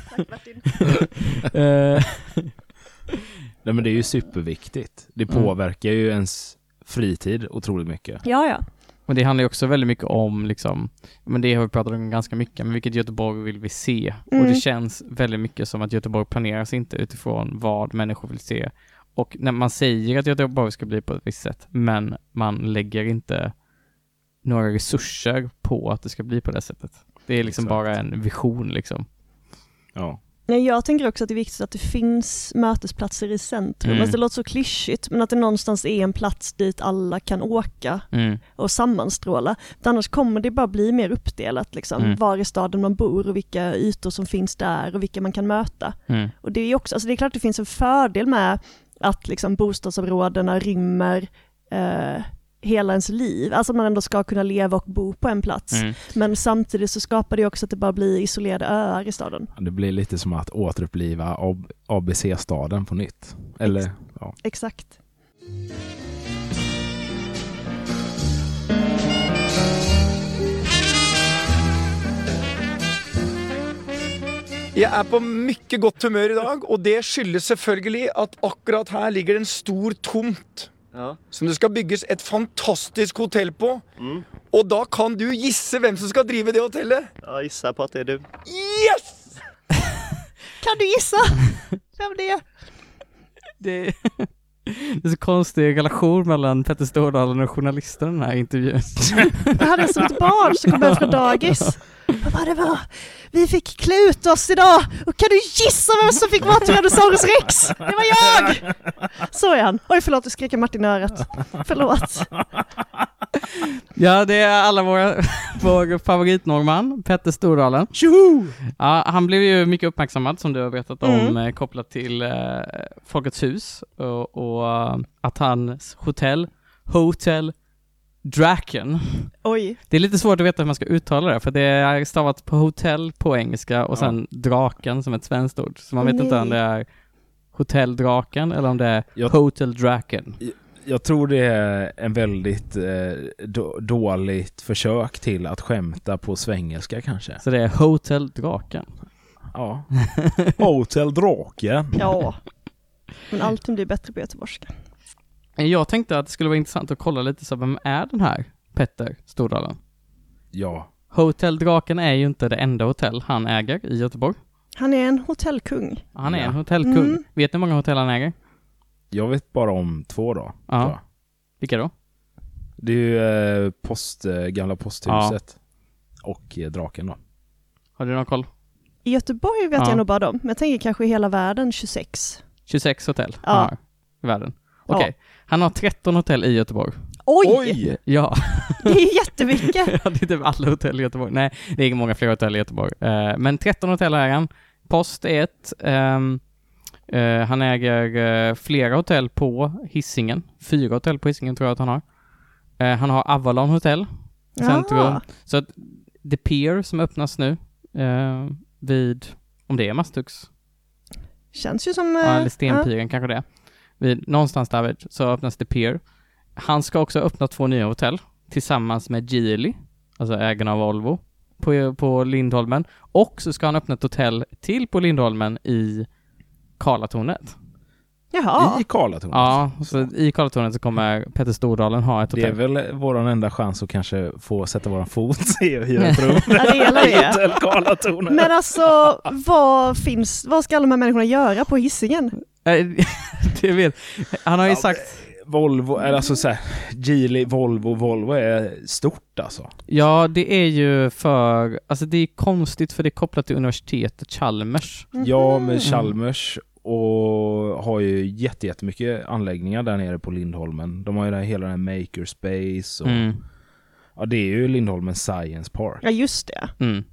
Speaker 1: Eh,
Speaker 2: Nej, men det är ju superviktigt. Det
Speaker 1: Mm.
Speaker 2: påverkar ju ens fritid otroligt mycket.
Speaker 3: Ja, ja.
Speaker 1: Men det handlar ju också väldigt mycket om liksom, men det har vi pratat om ganska mycket, men vilket Göteborg vill vi se? Och
Speaker 3: Mm.
Speaker 1: det känns väldigt mycket som att Göteborg planeras inte utifrån vad människor vill se. Och när man säger att Göteborg ska bli på ett visst sätt, men man lägger inte några resurser på att det ska bli på det sättet. Det är liksom
Speaker 2: Exakt.
Speaker 1: bara en vision liksom.
Speaker 2: Ja.
Speaker 3: Nej, jag tänker också att det är viktigt att det finns mötesplatser i centrum.
Speaker 1: Mm.
Speaker 3: Alltså, det låter så klyschigt, men att det någonstans är en plats dit alla kan åka
Speaker 1: Mm.
Speaker 3: och sammanstråla. För annars kommer det bara bli mer uppdelat, liksom,
Speaker 1: Mm.
Speaker 3: var i staden man bor och vilka ytor som finns där och vilka man kan möta.
Speaker 1: Mm.
Speaker 3: Och det är ju också, alltså det är klart det finns en fördel med att liksom bostadsområdena rymmer eh, hela ens liv, alltså att man ändå ska kunna leva och bo på en plats.
Speaker 1: Mm.
Speaker 3: Men samtidigt så skapar det också att det bara blir isolerade öar i staden.
Speaker 2: Det blir lite som att återuppliva AB- ABC-staden på nytt. Eller, ja.
Speaker 3: Exakt.
Speaker 4: Jeg er på mye godt humør i dag, og det skyldes selvfølgelig at akkurat her ligger det en stor tomt. Som det skal bygges et fantastisk hotell på. Og da kan du gisse hvem som skal drive det hotellet.
Speaker 5: Ja, gissar på att det är du.
Speaker 4: Yes!
Speaker 3: Kan du gissa vem det är?
Speaker 1: Det, det är så konstig relation mellan Petter Stordalen och journalisten i den här intervjun.
Speaker 3: Jag hade som ett barn som kom hem från dagis. Jag bara, det var, vi fick klä ut oss idag och kan du gissa vem som fick vara Tyrannosaurus rex? Det var jag! Så är han. Oj förlåt, du skriker Martin i örat. Förlåt.
Speaker 1: Ja, det är alla våra, vår favoritnorrman, Petter Stordalen.
Speaker 4: Tjoho!
Speaker 1: Ja, han blev ju mycket uppmärksammad, som du har berättat om,
Speaker 3: Mm.
Speaker 1: eh, kopplat till eh, Folkets hus och, och eh, att hans hotell, Hotel Draken,
Speaker 3: Oj.
Speaker 1: det är lite svårt att veta hur man ska uttala det, för det är stavat på hotell på engelska och
Speaker 2: Ja.
Speaker 1: sen draken som ett svenskt ord, så man
Speaker 3: Åh,
Speaker 1: vet inte
Speaker 3: nej.
Speaker 1: om det är Hotell Draken eller om det är
Speaker 2: Jag-
Speaker 1: Hotel Draken.
Speaker 2: Jag tror det är en väldigt eh, då, dåligt försök till att skämta på svengelska kanske.
Speaker 1: Så det är Hotel Draken.
Speaker 2: Ja. Hotel Draken.
Speaker 3: Ja. Men allting blir bättre på göteborgska.
Speaker 1: Jag tänkte att det skulle vara intressant att kolla lite så, vem är den här Petter Stordalen?
Speaker 2: Ja.
Speaker 1: Hotell Draken är ju inte det enda hotell han äger i Göteborg.
Speaker 3: Han är en hotellkung.
Speaker 1: Han är
Speaker 2: Ja.
Speaker 1: en hotellkung.
Speaker 3: Mm.
Speaker 1: Vet ni hur många hotell han äger?
Speaker 2: Jag vet bara om två då.
Speaker 1: Ja.
Speaker 2: tror jag.
Speaker 1: Vilka då?
Speaker 2: Det är ju eh, post, eh, gamla posthuset. och eh, draken då.
Speaker 1: Har du någon koll?
Speaker 3: I Göteborg vet
Speaker 1: Ja.
Speaker 3: jag nog bara dem, men jag tänker kanske i hela världen 26.
Speaker 1: 26 hotell
Speaker 3: Ja.
Speaker 1: han har i världen. Okej, han har 13 hotell i Göteborg.
Speaker 3: Oj!
Speaker 4: Oj!
Speaker 1: Ja,
Speaker 3: Det är ju jättemycket!
Speaker 1: det är typ alla hotell i Göteborg. Nej, det är många fler hotell i Göteborg. Eh, men 13 hotell äger han. Post är ett. Ehm, eh, han äger eh, flera hotell på Hisingen. Fyra hotell på Hisingen tror jag att han har. Eh, han har Avalon Hotel. Centrum.
Speaker 3: Ja.
Speaker 1: Så att The Pier som öppnas nu eh, vid, om det är Mastux,
Speaker 3: Känns ju som...
Speaker 1: Ja,
Speaker 3: eh,
Speaker 1: eller Stenpiren kanske det är. Vid, någonstans där vid, så öppnas The Pier. Han ska också öppna två nya hotell tillsammans med Geely, alltså ägarna av Volvo, på, på Lindholmen. Och så ska han öppna ett hotell till på Lindholmen i Karlatornet.
Speaker 3: ja. Jaha.
Speaker 2: I Karlatornet.
Speaker 1: Ja, så i Karlatornet så kommer Petter Stordalen ha ett
Speaker 2: Det är
Speaker 1: hotell.
Speaker 2: väl eh, våran enda chans att kanske få sätta våran fot i och hyra ett rum.
Speaker 3: Ja, det gäller
Speaker 2: I
Speaker 3: det.
Speaker 2: Hotell Karlatornet.
Speaker 3: Men alltså, vad finns, vad ska alla de här människorna göra på hissingen?
Speaker 1: Nej, det vet. Han har ju
Speaker 2: Ja,
Speaker 1: sagt,
Speaker 2: Volvo, eller alltså såhär, Geely, Volvo, Volvo är stort alltså.
Speaker 1: ja det är ju för, alltså det är konstigt för det är kopplat till universitetet Chalmers.
Speaker 2: Ja,
Speaker 3: Mm. Mhm.
Speaker 2: men Chalmers och har ju jätte- jättemycket anläggningar där nere på Lindholmen. De har ju där hela den här makerspace och
Speaker 1: Mm.
Speaker 2: ja, det är ju Lindholmen Science Park.
Speaker 3: Ja, just det.
Speaker 1: Mm.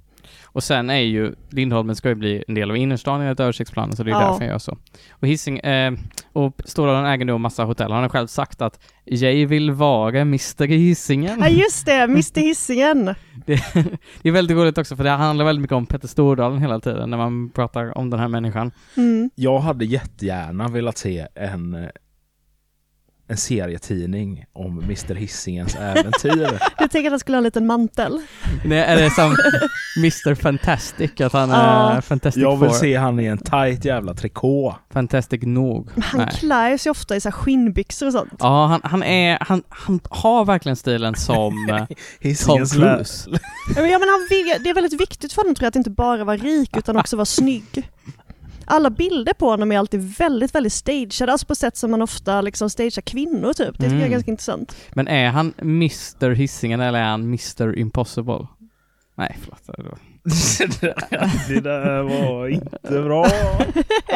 Speaker 1: Och sen är ju, Lindholmen ska ju bli en del av innerstan enligt översiktsplanen, så det är
Speaker 3: Ja.
Speaker 1: därför han gör så. Och Hising, eh, och Stordalen äger då massa hotell. Han har själv sagt att jag vill vara Mr Hisingen.
Speaker 3: Ja, just det. Mr Hisingen.
Speaker 1: Det är väldigt roligt också, för det handlar väldigt mycket om Petter Stordalen hela tiden, när man pratar om den här människan.
Speaker 3: Mm.
Speaker 2: Jag hade jättegärna velat se en eh, en serietidning om Mr Hisingens äventyr.
Speaker 3: Jag tänker att han skulle ha en liten mantel.
Speaker 1: Nej, är det som Mr Fantastic, att han är
Speaker 3: Ja.
Speaker 1: Fantastic
Speaker 2: Jag vill
Speaker 1: Four.
Speaker 2: se han i en tight jävla trikå.
Speaker 1: Fantastic nog.
Speaker 3: Han
Speaker 1: Nej.
Speaker 3: klär sig ofta i så här skinnbyxor och sånt.
Speaker 1: Ja, han, han är, han, han har verkligen stilen som eh, Tom
Speaker 2: Hisingens lä-
Speaker 1: Cruise.
Speaker 3: Ja, men ja, men han vill, det är väldigt viktigt för honom tror jag att inte bara vara rik utan också vara snygg. Alla bilder på honom är alltid väldigt, väldigt stageade, alltså på sätt som man ofta liksom stagear kvinnor typ. Det tycker jag
Speaker 1: Mm.
Speaker 3: är ganska intressant.
Speaker 1: Men är han Mr Hisingen eller är han Mr Impossible? Nej, förlåt. det var-
Speaker 2: det där var inte bra.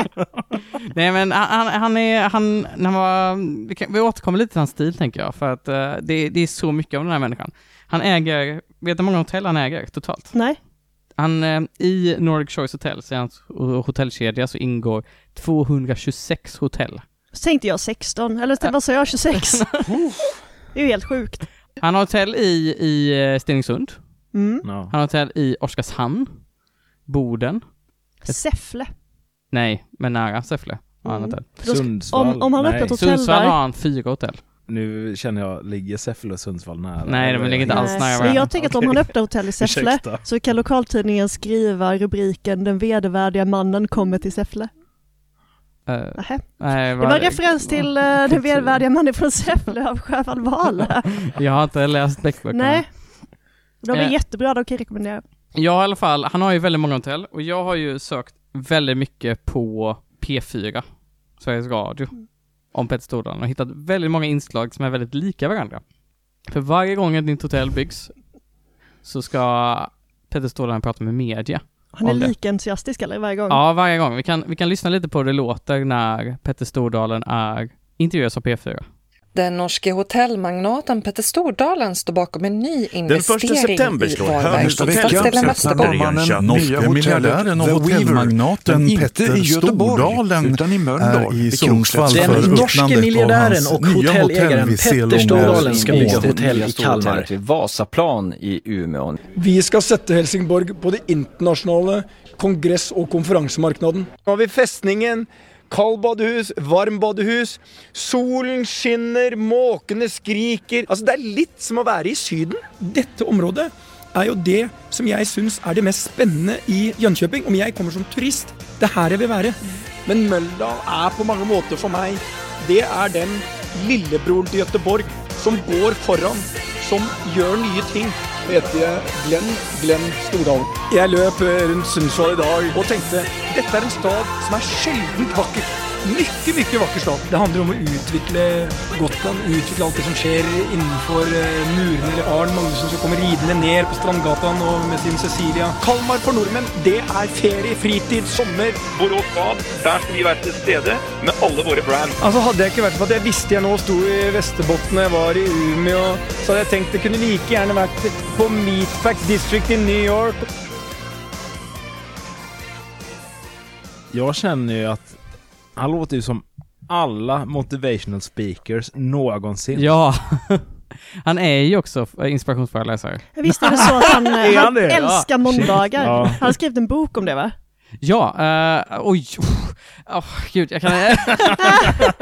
Speaker 1: Nej men han- han, han är, han, när han var, vi, kan, vi återkommer lite till hans stil tänker jag, för att eh, det, det är så mycket av den här människan. Han äger, vet du hur många hotell han äger totalt?
Speaker 3: Nej?
Speaker 1: Han, eh, i Nordic Choice Hotels, i hans ho- hotellkedja, så ingår 226 hotell.
Speaker 3: Så tänkte jag 16, eller så- vad sa jag 26? Det är ju helt sjukt.
Speaker 1: Han har hotell i, i eh, Stenungsund,
Speaker 3: Mm.
Speaker 2: No.
Speaker 1: han har hotell i Oskarshamn, Boden,
Speaker 3: Säffle.
Speaker 1: nej, men nära Säffle. har han
Speaker 3: Mm.
Speaker 1: hotell.
Speaker 3: Då ska-
Speaker 2: Sundsvall?
Speaker 3: om- om han öppnat
Speaker 2: Nej.
Speaker 3: hos- Hotell
Speaker 1: Sundsvall
Speaker 3: där.
Speaker 1: har han fyra hotell.
Speaker 2: Nu känner jag, ligger Säffle och Sundsvall nära?
Speaker 1: Nej, de
Speaker 2: Eller?
Speaker 1: ligger inte alls
Speaker 3: Nej.
Speaker 1: nära
Speaker 3: Men
Speaker 1: varandra.
Speaker 3: Eh, jag tänker att om han öppnar hotell i Säffle
Speaker 2: Ursäkta.
Speaker 3: så kan lokaltidningen skriva rubriken Den vedervärdiga mannen kommer till Säffle.
Speaker 1: Eh,
Speaker 3: Nähä.
Speaker 1: nej, Mm.
Speaker 3: Det var en referens till eh, Den vedervärdiga mannen från Säffle av Sjöwall Wahl.
Speaker 1: Jag har inte läst Beckböckerna.
Speaker 3: Nej. De är
Speaker 1: Eh.
Speaker 3: jättebra, de kan jag rekommendera.
Speaker 1: Ja, i alla fall. Han har ju väldigt många hotell och jag har ju sökt väldigt mycket på P4, Sveriges Radio, om Petter Stordalen och hittat väldigt många inslag som är väldigt lika varandra. För varje gång ett nytt hotell byggs så ska Petter Stordalen prata med media.
Speaker 3: Han är
Speaker 1: Om det.
Speaker 3: lika entusiastisk eller varje gång.
Speaker 1: Ja, varje gång. Vi kan, vi kan lyssna lite på hur det låter när Petter Stordalen är intervjuas av P4.
Speaker 5: Den norske hotellmagnaten Petter Stordalen står bakom en ny
Speaker 6: Den 1
Speaker 5: investering
Speaker 6: september
Speaker 5: i
Speaker 6: slår
Speaker 5: Varbergs
Speaker 7: Nästa vecka
Speaker 5: stadsdel i
Speaker 7: sätter
Speaker 5: Västerbotten.
Speaker 7: barmannen nya
Speaker 6: Norske
Speaker 7: hotellet
Speaker 6: miljardären och
Speaker 7: The
Speaker 6: hotellmagnaten
Speaker 7: Weaver, inte
Speaker 6: Petter
Speaker 7: i Göteborg
Speaker 6: Stordalen
Speaker 7: utan i Mölndal
Speaker 6: är i Sundsvall
Speaker 7: Krokslätt.
Speaker 6: för
Speaker 8: Den
Speaker 6: öppnandet
Speaker 8: norske
Speaker 6: av
Speaker 8: miljardären
Speaker 6: hans
Speaker 8: och
Speaker 6: nya hotell
Speaker 8: hotellägaren
Speaker 6: vid
Speaker 8: Petter
Speaker 6: Selånga
Speaker 8: Stordalen ska
Speaker 6: i
Speaker 8: bygga
Speaker 6: Åre.
Speaker 8: hotell i Kalmar.
Speaker 9: vid Vasaplan i Umeå.
Speaker 4: Vi skal sette Helsingborg på det internasjonale kongress- og konferansemarknaden.
Speaker 10: Nå har vi festningen. Kaldbadehus, varmbadehus. Solen skinner, måkene skriker. Altså, det er litt som å være i Syden.
Speaker 4: Dette området er jo det som jeg syns er det mest spennende i Jönköping. Om jeg kommer som turist, det er her jeg vil være.
Speaker 10: Men Møldal er på mange måter for meg Det er den lillebroren til Göteborg som går foran, som gjør nye ting.
Speaker 4: Heter jeg Glenn Glenn Stordalen. Jeg løp eh, rundt Sundsvall i dag og tenkte dette er en stad som er sjeldent vakker.
Speaker 10: mycket, mycket vacker stad. Det handlar om att utveckla Gotland, utveckla allt det som sker innanför eh, murarna. Arn Magnusson som kommer ridande ner på Strandgatan och med sin Cecilia. Kalmar för norrmän, det är ferie, fritid, sommar.
Speaker 4: Borås bad, der skal vi være til stede med alle våre brand.
Speaker 10: Alltså hade jag inte varit för att jag visste jag nu stod i Västerbotten när jag var i Umeå så hade jag tänkt att det kunde lika gärna varit på Meatpack District i New York.
Speaker 2: Jag känner ju att han låter ju som alla motivational speakers någonsin.
Speaker 1: Ja. Han är ju också f- eh, inspirationsföreläsare.
Speaker 3: Visst är det så att han, eh,
Speaker 2: Är han
Speaker 3: han
Speaker 2: det?
Speaker 3: älskar måndagar?
Speaker 2: Ja.
Speaker 3: Han har skrivit en bok om det va?
Speaker 1: Ja, eh, oj, oh, gud, jag kan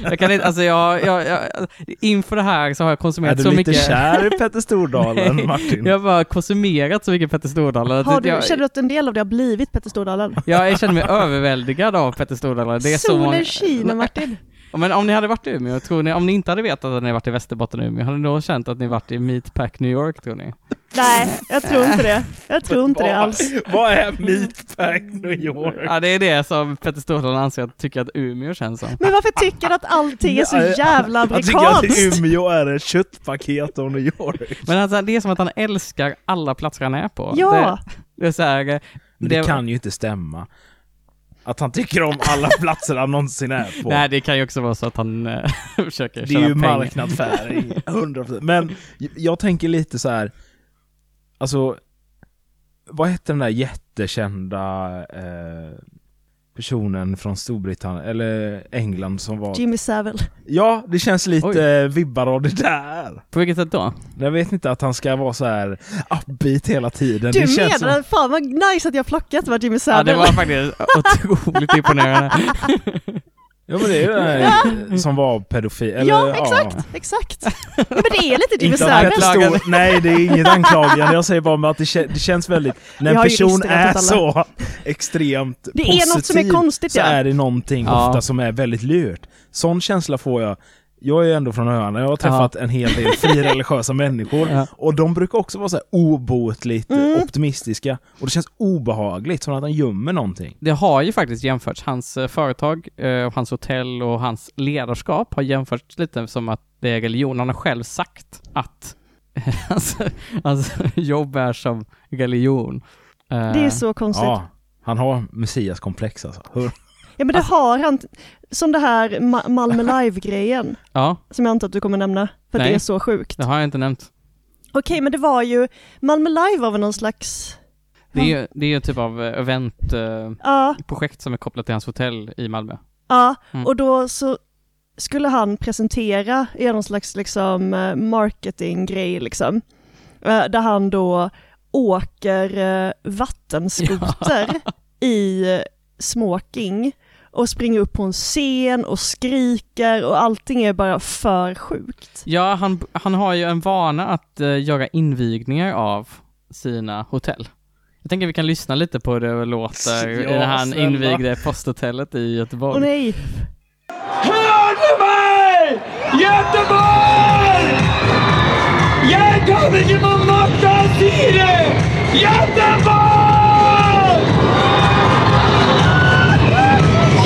Speaker 1: Jag kan inte, alltså jag, jag, jag, inför det här så har jag
Speaker 2: Är
Speaker 1: konsumerat
Speaker 2: du
Speaker 1: så
Speaker 2: lite
Speaker 1: mycket.
Speaker 2: kär i Petter Stordalen,
Speaker 1: Nej,
Speaker 2: Martin?
Speaker 1: Jag har bara konsumerat så mycket Petter Stordalen.
Speaker 3: Har du,
Speaker 1: jag,
Speaker 3: Känner du att en del av det har blivit Petter Stordalen?
Speaker 1: jag, jag känner mig överväldigad av Petter Stordalen. Det är så
Speaker 3: Solen
Speaker 1: många...
Speaker 3: skiner Martin.
Speaker 1: Men om ni hade varit i Umeå, tror ni, om ni inte hade vetat att ni varit i Västerbotten och Umeå, hade ni då känt att ni varit i Meatpack New York tror ni?
Speaker 3: Nej, jag tror inte det. Jag tror inte det alls.
Speaker 2: Vad är Meatpack New York?
Speaker 1: Ja, det är det som Petter Stordalen anser att, tycker att Umeå känns som.
Speaker 3: Men varför tycker du att allting är så jävla
Speaker 2: Jag tycker att
Speaker 3: amerikanskt?
Speaker 2: Umeå är ett köttpaket av New York.
Speaker 1: Men alltså, det är som att han älskar alla platser han är på.
Speaker 3: Ja,
Speaker 1: Det, det är så här, eh,
Speaker 2: Men det,
Speaker 1: Det-
Speaker 2: kan ju inte stämma. Att han tycker om alla platser han någonsin är på.
Speaker 1: nej, det kan ju också vara så att han eh, försöker
Speaker 2: det är
Speaker 1: tjäna
Speaker 2: ju
Speaker 1: pengar.
Speaker 2: marknadsföring. 100%. Men j- jag tänker lite så här. Alltså, vad hette den där jättekända eh, personen från Storbritannien, eller England som var...
Speaker 3: Jimmy Savile.
Speaker 2: Ja, det känns lite vibbar av det där.
Speaker 1: På vilket sätt då?
Speaker 2: Jag vet inte att han ska vara så här upbeat hela tiden.
Speaker 3: Du
Speaker 2: det känns som-
Speaker 3: menar, fan vad nice att jag plockat vad Jimmy
Speaker 1: Ja, det
Speaker 3: Savile.
Speaker 1: var faktiskt otroligt imponerande.
Speaker 2: Ja men det är ju den här som var pedofil. Eller,
Speaker 3: Ja, exakt, exakt. Ja, men det är lite Jimmy
Speaker 2: Inte att
Speaker 3: Savile.
Speaker 2: Petter Stor, nej, det är inget anklagande. Jag säger bara med att det, kä- det känns väldigt... När
Speaker 3: Jag
Speaker 2: en
Speaker 3: har ju
Speaker 2: person
Speaker 3: registrerat
Speaker 2: är
Speaker 3: åt
Speaker 2: så
Speaker 3: alla.
Speaker 2: extremt
Speaker 3: Det är
Speaker 2: positiv
Speaker 3: något som är konstigt,
Speaker 2: så
Speaker 3: ja.
Speaker 2: är det någonting
Speaker 1: Ja.
Speaker 2: ofta som är väldigt lurt. Sån känsla får jag. Jag är ju ändå från öarna. Jag har träffat en hel del frireligiösa människor.
Speaker 1: Ja.
Speaker 2: Och de brukar också vara så här obotligt
Speaker 3: Mm.
Speaker 2: optimistiska. Och det känns obehagligt, som att han gömmer någonting.
Speaker 1: Det har ju faktiskt jämförts. Hans eh, företag, eh, och hans hotell och hans ledarskap har jämförts lite som att det är religion. Han har själv sagt att hans, hans jobb är som religion. Eh,
Speaker 3: Det är så konstigt.
Speaker 2: Ja, han har messiaskomplex alltså. Hur-
Speaker 3: Ja men det
Speaker 2: Alltså-
Speaker 3: har han, som det här Ma- Malmö Live-grejen,
Speaker 1: Ja,
Speaker 3: som jag antar att du kommer nämna, för att
Speaker 1: Nej.
Speaker 3: det är så sjukt.
Speaker 1: det har jag inte nämnt.
Speaker 3: Okej, men det var ju, Malmö Live var väl någon slags,
Speaker 1: Det är ju det är ju typ av eh, event... eh,
Speaker 3: ja,
Speaker 1: projekt som är kopplat till hans hotell i Malmö.
Speaker 3: ja,
Speaker 1: Mm.
Speaker 3: och då så skulle han presentera i någon slags liksom eh, marketinggrej liksom, eh, där han då åker eh, vattenskoter i eh, smoking och springer upp på en scen och skriker och allting är bara för sjukt.
Speaker 1: Ja, han, han har ju en vana att eh, göra invigningar av sina hotell. Jag tänker vi kan lyssna lite på hur det låter
Speaker 2: Ja,
Speaker 1: när han
Speaker 2: snälla.
Speaker 1: invigde posthotellet i Göteborg.
Speaker 3: Åh nej!
Speaker 4: Hör du mig? Göteborg! Jag kan inte på något han säger! Göteborg!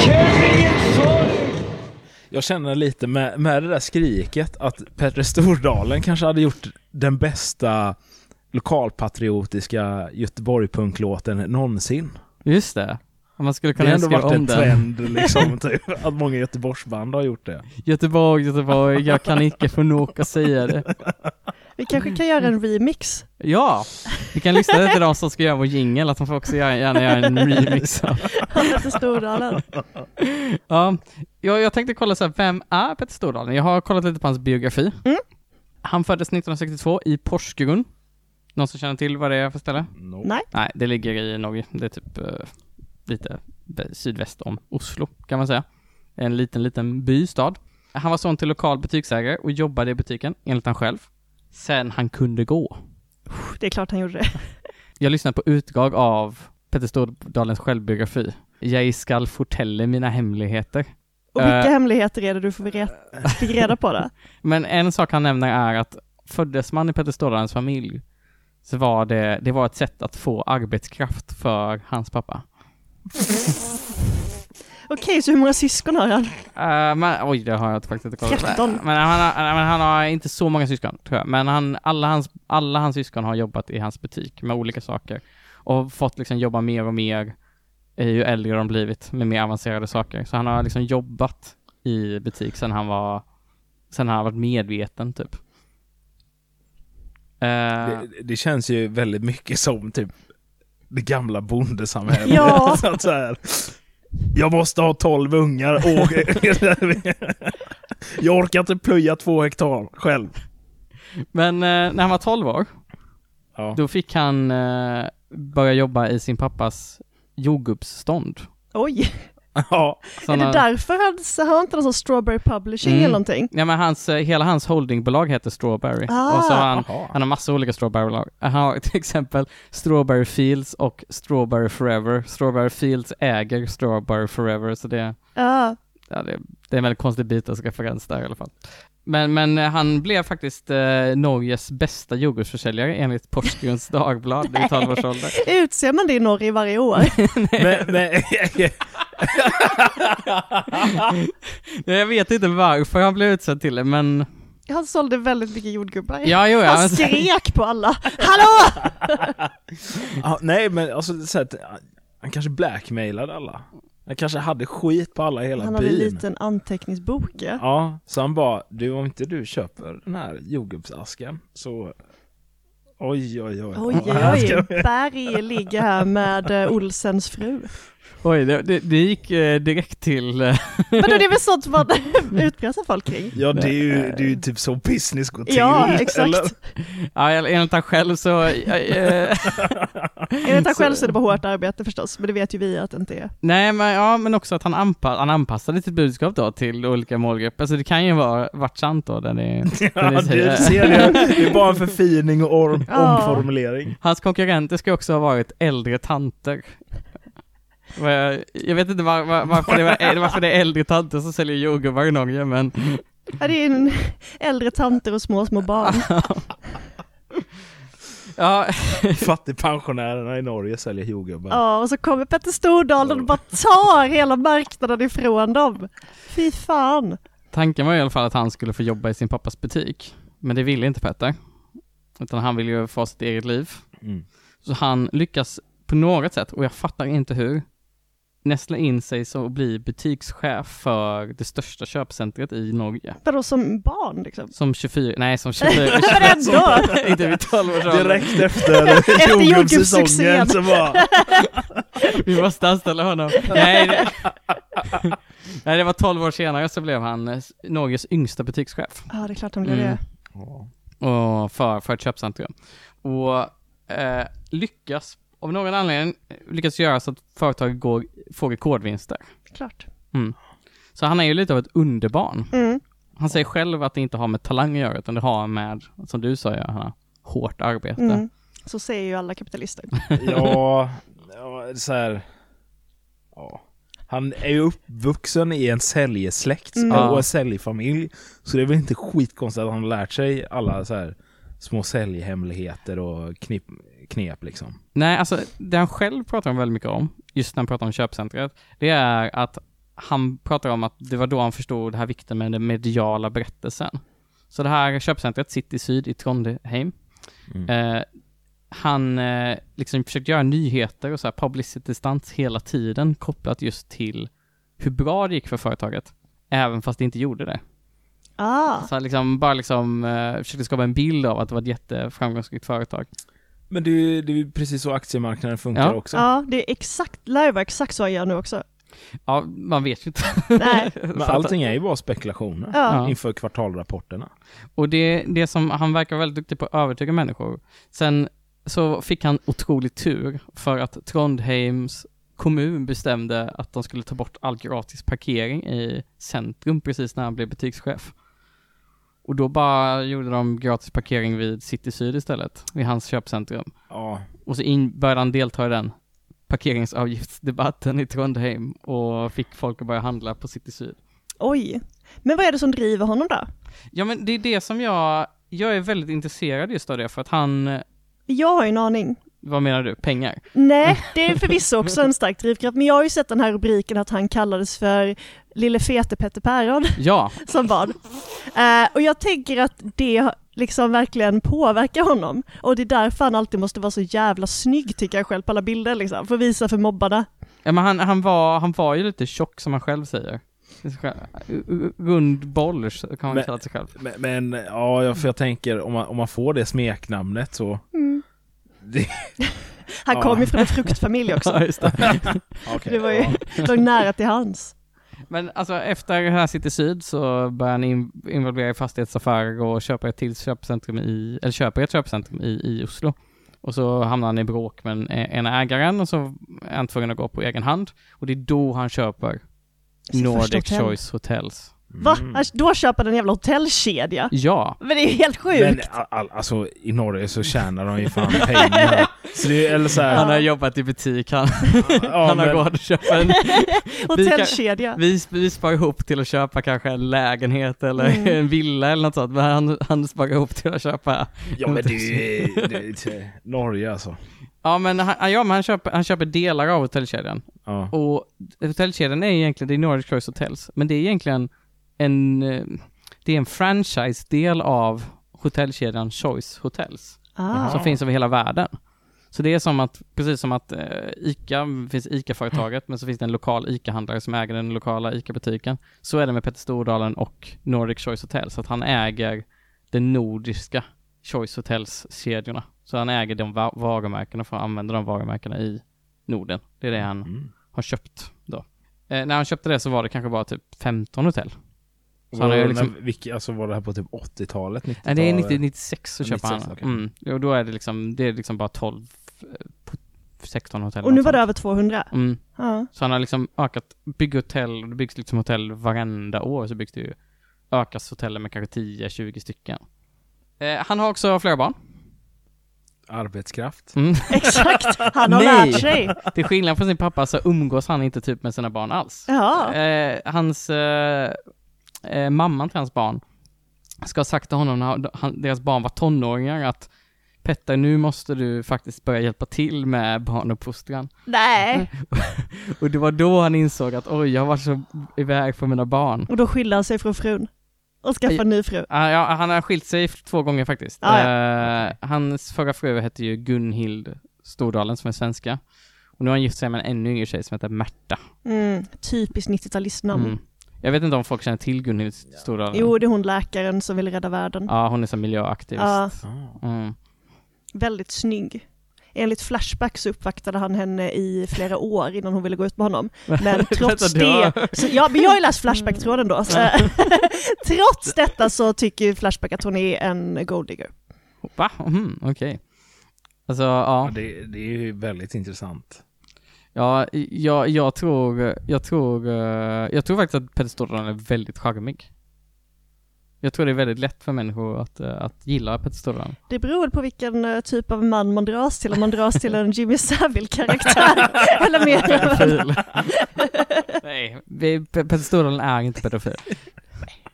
Speaker 4: Känn ingen sorg.
Speaker 2: Jag känner lite med, med det där skriket att Petter Stordalen kanske hade gjort den bästa lokalpatriotiska Göteborg-punklåten någonsin.
Speaker 1: Just det. Om Man skulle
Speaker 2: Det har
Speaker 1: kunna
Speaker 2: ändå
Speaker 1: skriva
Speaker 2: varit en
Speaker 1: om den.
Speaker 2: trend liksom, typ, att många Göteborgsband har gjort det.
Speaker 1: Göteborg, Göteborg, jag kan icke förneka säga det.
Speaker 3: Vi kanske kan göra en remix.
Speaker 1: Ja, vi kan lyssna till de som ska göra vår jingel, att de får också göra- gärna göra en remix av
Speaker 3: Petter Stordalen.
Speaker 1: Ja, jag, jag tänkte kolla så här, vem är Petter Stordalen? Jag har kollat lite på hans biografi.
Speaker 3: Mm.
Speaker 1: Han föddes 1962 i Porsgrunn. Någon som känner till vad det är för ställe?
Speaker 2: No.
Speaker 3: Nej.
Speaker 1: Nej, det ligger i Norge. Det är typ eh, lite vä- sydväst om Oslo, kan man säga. En liten, liten by, stad. Han var son till lokal butiksägare och jobbade i butiken, enligt han själv. Sen han kunde gå.
Speaker 3: Det är klart han gjorde det.
Speaker 1: Jag lyssnade på utdrag av Petter Stordalens självbiografi. Jag skall fortälla mina hemligheter.
Speaker 3: Och vilka
Speaker 1: Eh.
Speaker 3: hemligheter är det du får reda, fick reda på då?
Speaker 1: Men en sak han nämner är att föddes man i Petter Stordalens familj så var det, det var ett sätt att få arbetskraft för hans pappa.
Speaker 3: Okej, så hur många syskon har han?
Speaker 1: Eh, men, oj, det har jag faktiskt inte kollat.
Speaker 3: 13.
Speaker 1: Men han, har, han- men han har inte så många syskon, tror jag. Men han, alla, hans, alla hans syskon har jobbat i hans butik med olika saker. Och fått liksom jobba mer och mer eh, ju äldre de blivit med mer avancerade saker. Så han har liksom jobbat i butik sen han var, sen han har varit medveten typ. Eh,
Speaker 2: Det, det känns ju väldigt mycket som typ det gamla bondesamhället.
Speaker 3: Ja.
Speaker 2: så att så här, jag måste ha tolv ungar och jag orkar inte plöja två hektar själv.
Speaker 1: Men eh, när han var 12 år,
Speaker 2: Ja.
Speaker 1: då fick han eh, börja jobba i sin pappas jordgubbsstånd.
Speaker 3: Oj,
Speaker 2: Ja,
Speaker 3: är
Speaker 1: Såna-
Speaker 3: det därför han så har han inte någon sån strawberry publishing
Speaker 1: Mm.
Speaker 3: eller någonting?
Speaker 1: Ja men hans, eh, hela hans holdingbolag heter Strawberry.
Speaker 3: Ah.
Speaker 1: och så har han,
Speaker 2: Jaha.
Speaker 1: han har massa olika strawberrybolag. Han har till exempel Strawberry Fields och Strawberry Forever. Strawberry Fields äger Strawberry Forever, så det,
Speaker 3: Ja,
Speaker 1: ja, det, det är en väldigt konstig Beatles-referens där i alla fall. Men, men eh, han blev faktiskt eh, Norges bästa jordgubbsförsäljare enligt Porsgrunns Dagblad vid 12 års ålder.
Speaker 3: utser man det i Norge varje år?
Speaker 2: men, men,
Speaker 1: Ja, Jag vet inte varför han blev utsedd till det, men
Speaker 3: Han sålde väldigt mycket jordgubbar.
Speaker 1: ja, jo, ja.
Speaker 3: Han skrek på alla. Hallå!
Speaker 2: ja, nej men alltså så att, han kanske blackmailade alla. Han kanske hade skit på alla i hela
Speaker 3: Han hade
Speaker 2: byn.
Speaker 3: en liten anteckningsbok ja.
Speaker 2: Ja, så han bara, du om inte du köper den här jordgubbsasken så Oj, oj, oj.
Speaker 3: Oj, oj, oj. Berg ligger här med eh, Olsens fru.
Speaker 1: Oj, det, det, det gick eh, direkt till eh,
Speaker 3: Vadå, det är väl sånt man utpressar folk kring?
Speaker 2: Ja, det är, ju, det är ju typ så business går till.
Speaker 3: Ja, exakt.
Speaker 2: eller?
Speaker 1: Ja, en- enligt han själv så... eh,
Speaker 3: Enligt han själv
Speaker 1: Alltså-
Speaker 3: så är det bara hårt arbete förstås, men det vet ju vi att det inte är.
Speaker 1: nej, men, ja, men också att han, anpa- han anpassade sitt budskap då till olika målgrupper. Alltså det kan ju vara varit sant då, där ni, där ni
Speaker 2: Ja, du
Speaker 1: säger.
Speaker 2: ser det. Det är bara en förfining och orm-
Speaker 3: Ja.
Speaker 2: omformulering.
Speaker 1: Hans konkurrenter ska också ha varit äldre tanter. Vad Jag jag vet inte var, var, varför, det var, varför det är äldre tanter som säljer jordgubbar i Norge, men
Speaker 3: Ja, det är en äldre tanter och små, små barn.
Speaker 1: ja,
Speaker 2: Fattigpensionärerna i Norge säljer jordgubbar.
Speaker 3: Ja, och så kommer Petter Stordalen och bara tar hela marknaden ifrån dem. Fy fan.
Speaker 1: tanken var i alla fall att han skulle få jobba i sin pappas butik. Men det ville inte Petter. Utan han ville ju få sitt eget liv.
Speaker 2: Mm.
Speaker 1: Så han lyckas på något sätt, och jag fattar inte hur, nästla in sig så och bli butikschef för det största köpcentret i Norge.
Speaker 3: Vadå som barn liksom?
Speaker 1: Som 24, nej som 24,
Speaker 3: Men ändå!
Speaker 1: inte vid 12 års ålder.
Speaker 2: Direkt efter jordgubbssäsongen
Speaker 3: jordgubbssuccén.
Speaker 2: så bara,
Speaker 1: Vi måste anställa honom. Nej det, nej, det var 12 år senare så blev han eh, Norges yngsta butikschef.
Speaker 3: Ja, det är klart han blir
Speaker 1: Mm.
Speaker 3: det.
Speaker 1: och för, för ett köpcentrum. Och eh, lyckas, av någon anledning, lyckas göra så att företaget går, får rekordvinster.
Speaker 3: Klart.
Speaker 1: Så han är ju lite av ett underbarn.
Speaker 3: Mm.
Speaker 1: Han säger själv att det inte har med talang att göra, utan det har med, som du sa Johanna, hårt arbete.
Speaker 3: Mm. Så säger ju alla kapitalister.
Speaker 2: ja, ja, så här. Ja. Han är ju uppvuxen i en säljesläkt
Speaker 1: Mm.
Speaker 2: och en säljfamilj. Så det är väl inte skitkonstigt att han har lärt sig alla så här små säljhemligheter och knip, knep liksom.
Speaker 1: Nej, alltså det han själv pratar om väldigt mycket om, just när han pratar om köpcentret, det är att han pratar om att det var då han förstod det här vikten med den mediala berättelsen. Så det här köpcentret, City Syd i Trondheim, eh, han eh, liksom försökte göra nyheter och så här publicity stunts hela tiden kopplat just till hur bra det gick för företaget, även fast det inte gjorde det.
Speaker 3: Ah,
Speaker 1: Så han liksom, bara liksom eh, försökte skapa en bild av att det var ett jätteframgångsrikt företag.
Speaker 2: Men det är ju, det är ju precis så aktiemarknaden funkar
Speaker 1: Ja.
Speaker 2: också.
Speaker 3: ja, det är exakt, lär ju vara exakt så jag gör nu också.
Speaker 1: Ja, man vet ju inte.
Speaker 3: Nej.
Speaker 2: Men allting är ju bara spekulationer
Speaker 3: Ja.
Speaker 2: inför kvartalrapporterna.
Speaker 1: Och det, det som, han verkar väldigt duktig på att övertyga människor. Sen så fick han otrolig tur för att Trondheims kommun bestämde att de skulle ta bort all gratis parkering i centrum precis när han blev butikschef. Och då bara gjorde de gratis parkering vid City Syd istället, vid hans köpcentrum.
Speaker 2: Ja,
Speaker 1: Och så in, började han delta i den parkeringsavgiftsdebatten i Trondheim och fick folk att börja handla på City Syd.
Speaker 3: Oj. Men vad är det som driver honom då?
Speaker 1: Ja men det är det som jag, jag är väldigt intresserad just av det för att han,
Speaker 3: Jag har ju en aning.
Speaker 1: Vad menar du? Pengar?
Speaker 3: Nej, det är förvisso också en stark drivkraft, men jag har ju sett den här rubriken att han kallades för Lille fete Petter Päron
Speaker 1: Ja,
Speaker 3: som barn. Eh, och jag tänker att det liksom verkligen påverkar honom. Och det är därför han alltid måste vara så jävla snygg tycker jag själv på alla bilder liksom, för att visa för mobbarna.
Speaker 1: ja men han, han, var, han var ju lite tjock som han själv säger. Rund boll kan han
Speaker 2: Men-
Speaker 1: kalla sig själv.
Speaker 2: Men, men ja, jag, för jag tänker om man, om man får det smeknamnet så... Det,
Speaker 3: Han
Speaker 2: Ja.
Speaker 3: kom ju från en fruktfamilj också.
Speaker 1: Ja, just det.
Speaker 2: okej,
Speaker 3: Det var ju
Speaker 2: ja.
Speaker 3: låg nära till hans.
Speaker 1: Men alltså efter Här sitter Syd så börjar han in, involvera i fastighetsaffärer och köper ett till köpcentrum i, eller köper ett köpcentrum i, i Oslo. Och så hamnar han i bråk med en, en ägaren och så är han tvungen att gå på egen hand. Och det är då han köper
Speaker 3: första
Speaker 1: Nordic
Speaker 3: hotell.
Speaker 1: Choice Hotels.
Speaker 3: Va?
Speaker 1: Mm.
Speaker 3: Alltså, Då köper den en jävla hotellkedja?
Speaker 1: Ja,
Speaker 3: Men det är ju helt sjukt!
Speaker 2: Men all, all, alltså i Norge så tjänar de ju fan pengar. Så det är eller så här,
Speaker 1: han har jobbat i butik, han,
Speaker 2: ja,
Speaker 1: han har
Speaker 2: men-
Speaker 1: gått och köpt en
Speaker 3: hotellkedja.
Speaker 1: Vi, vi sparar ihop till att köpa kanske en lägenhet eller en villa eller något sånt, men han, han sparar ihop till att köpa
Speaker 2: Ja men det är det- Norge alltså.
Speaker 1: Ja men han, ja, men han, köper, han köper delar av hotellkedjan.
Speaker 2: Ja.
Speaker 1: Och hotellkedjan är egentligen, det är Nordic Choice Hotels, men det är egentligen en, eh, det är en franchise-del av hotellkedjan Choice Hotels,
Speaker 3: Ah.
Speaker 1: som finns över hela världen. Så det är som att, precis som att eh, ICA, finns ICA-företaget, men så finns det en lokal ICA-handlare som äger den lokala ICA-butiken. Så är det med Petter Stordalen och Nordic Choice Hotels, att han äger den nordiska Choice Hotels-kedjorna. Så han äger de va- varumärkena för att använda de varumärkena i Norden. Det är det han
Speaker 2: Mm.
Speaker 1: har köpt då. Eh, när han köpte det så var det kanske bara typ 15 hotell. Så han har
Speaker 2: Var-
Speaker 1: ju liksom-
Speaker 2: men vilka, alltså var det här på typ 80-talet? 90-talet?
Speaker 1: Nej, det är 90, 96 så
Speaker 2: Ja,
Speaker 1: köper
Speaker 2: 96,
Speaker 1: han.
Speaker 2: okej.
Speaker 1: Mm. Och då är det liksom, det är liksom bara 12, eh, po- 16 hotell.
Speaker 3: Och nu var det
Speaker 1: någonstans.
Speaker 3: över 200?
Speaker 1: Mm.
Speaker 3: Ja.
Speaker 1: Så han har liksom ökat, bygger hotell, och det byggs liksom hotell varenda år så byggs det ju, ökas hotellen med kanske 10-20 stycken. Eh, han har också flera barn.
Speaker 2: Arbetskraft?
Speaker 1: Mm.
Speaker 3: Exakt, han har
Speaker 1: Nej.
Speaker 3: lärt sig.
Speaker 1: Till skillnad från sin pappa så umgås han inte typ med sina barn alls.
Speaker 3: Ja.
Speaker 1: Eh, hans eh, eh, mamman till hans barn ska ha sagt till honom när han, deras barn var tonåringar att Petter, nu måste du faktiskt börja hjälpa till med barnuppfostran.
Speaker 3: Nej.
Speaker 1: Och det var då han insåg att oj, jag var så iväg från mina barn.
Speaker 3: Och då skilde han sig från frun. Och skaffade en ny fru.
Speaker 1: Ah, ja, han har skilt sig två gånger faktiskt.
Speaker 3: Ah,
Speaker 1: Eh, hans förra fru hette ju Gunhild Stordalen som är svenska. Och nu har han gift sig med en ännu yngre tjej som heter Märta.
Speaker 3: Mm. Typiskt 90-talistnamn.
Speaker 1: Mm. Jag vet inte om folk känner till Gunhild Stordalen.
Speaker 3: Jo, det är hon läkaren som vill rädda världen.
Speaker 1: Ja, hon är så miljöaktivist.
Speaker 3: Ja.
Speaker 1: Mm.
Speaker 3: Väldigt snygg. Enligt Flashback så uppvaktade han henne i flera år innan hon ville gå ut med honom. Men trots
Speaker 1: Vänta, du
Speaker 3: det,
Speaker 1: har- Mm.
Speaker 3: så, ja men jag har ju läst Flashback-tråden då. Så, trots detta så tycker ju Flashback att hon är en golddigger.
Speaker 1: Va? Mhm, Okej. Alltså, ja.
Speaker 2: Ja, det, det är ju väldigt intressant.
Speaker 1: ja jag, jag tror, jag tror, eh, jag tror faktiskt att Petter Stordalen är väldigt charmig. Jag tror det är väldigt lätt för människor att, eh, att gilla Petter Stordalen.
Speaker 3: Det beror väl på vilken eh, typ av man man dras till, om man dras till en Jimmy Savile-karaktär eller mer.
Speaker 1: Pedofil. Nej, vi, Pe- Petter Stordalen är inte pedofil.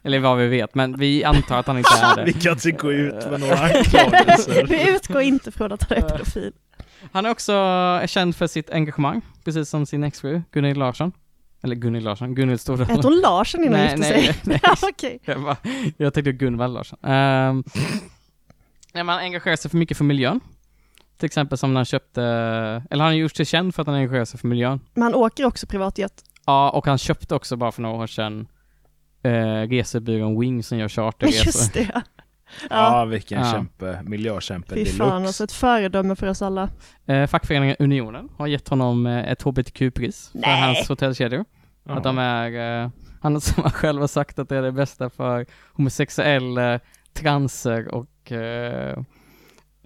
Speaker 1: Eller vad vi vet, men vi antar att han inte är det.
Speaker 2: kan inte gå typ ut med några anklagelser.
Speaker 3: Vi utgår inte från att han är pedofil.
Speaker 1: Han är också känd för sitt engagemang, precis som sin exfru Gunhild Larsson. Eller Gunhild Larsson, Gunhild Stordalen.
Speaker 3: Hette hon Larsen innan hon
Speaker 1: Nej,
Speaker 3: gifte
Speaker 1: nej,
Speaker 3: sig?
Speaker 1: nej.
Speaker 3: ja, okej.
Speaker 1: Jag, bara, jag tänkte Gunvald Larsson. Um, när man engagerar sig för mycket för miljön. Till exempel som när han köpte, eller han har gjort sig känd för att han engagerar sig för miljön.
Speaker 3: Men han åker också privatjet.
Speaker 1: Ja, och han köpte också bara för några år sedan eh, resebyrån Wing som gör charterresor.
Speaker 3: Just det. Ja,
Speaker 2: Ja, vilken
Speaker 1: Ja.
Speaker 2: kämpe. Miljökämpe
Speaker 3: fy fan alltså,
Speaker 2: deluxe.
Speaker 3: ett föredöme för oss alla.
Speaker 1: Eh, fackföreningen Unionen har gett honom eh, ett hbtq-pris för
Speaker 3: Nej.
Speaker 1: hans hotellkedjor.
Speaker 2: Ja.
Speaker 1: Att de är, eh, han som han själv har sagt att det är det bästa för homosexuella, eh, transer och eh,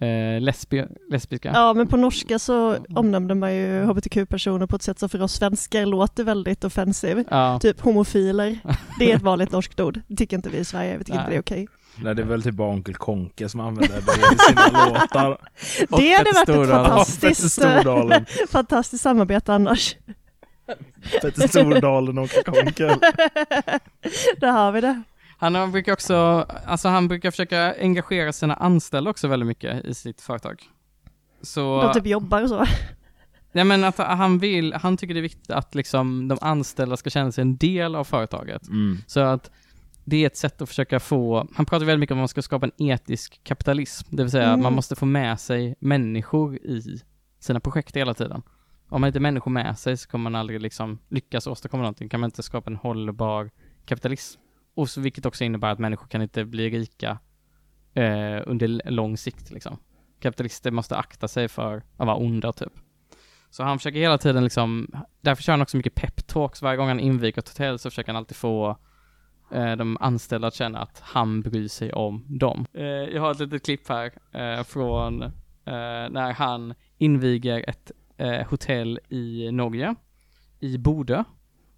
Speaker 1: eh, lesbi- lesbiska.
Speaker 3: Ja, men på norska så omnämnde man ju hbtq-personer på ett sätt som för oss svenskar låter väldigt offensiv.
Speaker 1: Ja.
Speaker 3: Typ homofiler, det är ett vanligt norskt ord. Det tycker inte vi i Sverige, vi tycker inte det är okej.
Speaker 2: Nej, det är väl typ bara Onkel Konke som använder det i sina låtar.
Speaker 1: Och
Speaker 3: Det hade
Speaker 1: Petter
Speaker 3: varit ett
Speaker 1: Stordalen.
Speaker 2: Petter
Speaker 3: fantastiskt, eh,
Speaker 2: Stordalen.
Speaker 3: fantastiskt samarbete annars.
Speaker 2: Petter Stordalen och Onkel Konke.
Speaker 3: Där har vi det.
Speaker 1: Han har- brukar också, alltså han brukar försöka engagera sina anställda också väldigt mycket i sitt företag. Så,
Speaker 3: De typ jobbar och så.
Speaker 1: nej men att han vill, han tycker det är viktigt att liksom de anställda ska känna sig en del av företaget.
Speaker 2: Mm.
Speaker 1: Så att det är ett sätt att försöka få, han pratar väldigt mycket om att man ska skapa en etisk kapitalism, det vill säga
Speaker 3: Mm.
Speaker 1: man måste få med sig människor i sina projekt hela tiden. Om man inte har människor med sig så kommer man aldrig liksom lyckas åstadkomma någonting, kan man inte skapa en hållbar kapitalism. Och så, vilket också innebär att människor kan inte bli rika eh, under l- lång sikt liksom. Kapitalister måste akta sig för att vara onda typ. Så han försöker hela tiden liksom, därför kör han också mycket peptalks. Varje gång han inviger ett hotell så försöker han alltid få eh, de anställda att känna att han bryr sig om dem. Eh, jag har ett litet klipp här eh, från eh, när han inviger ett eh, hotell i Norge, i Bodø.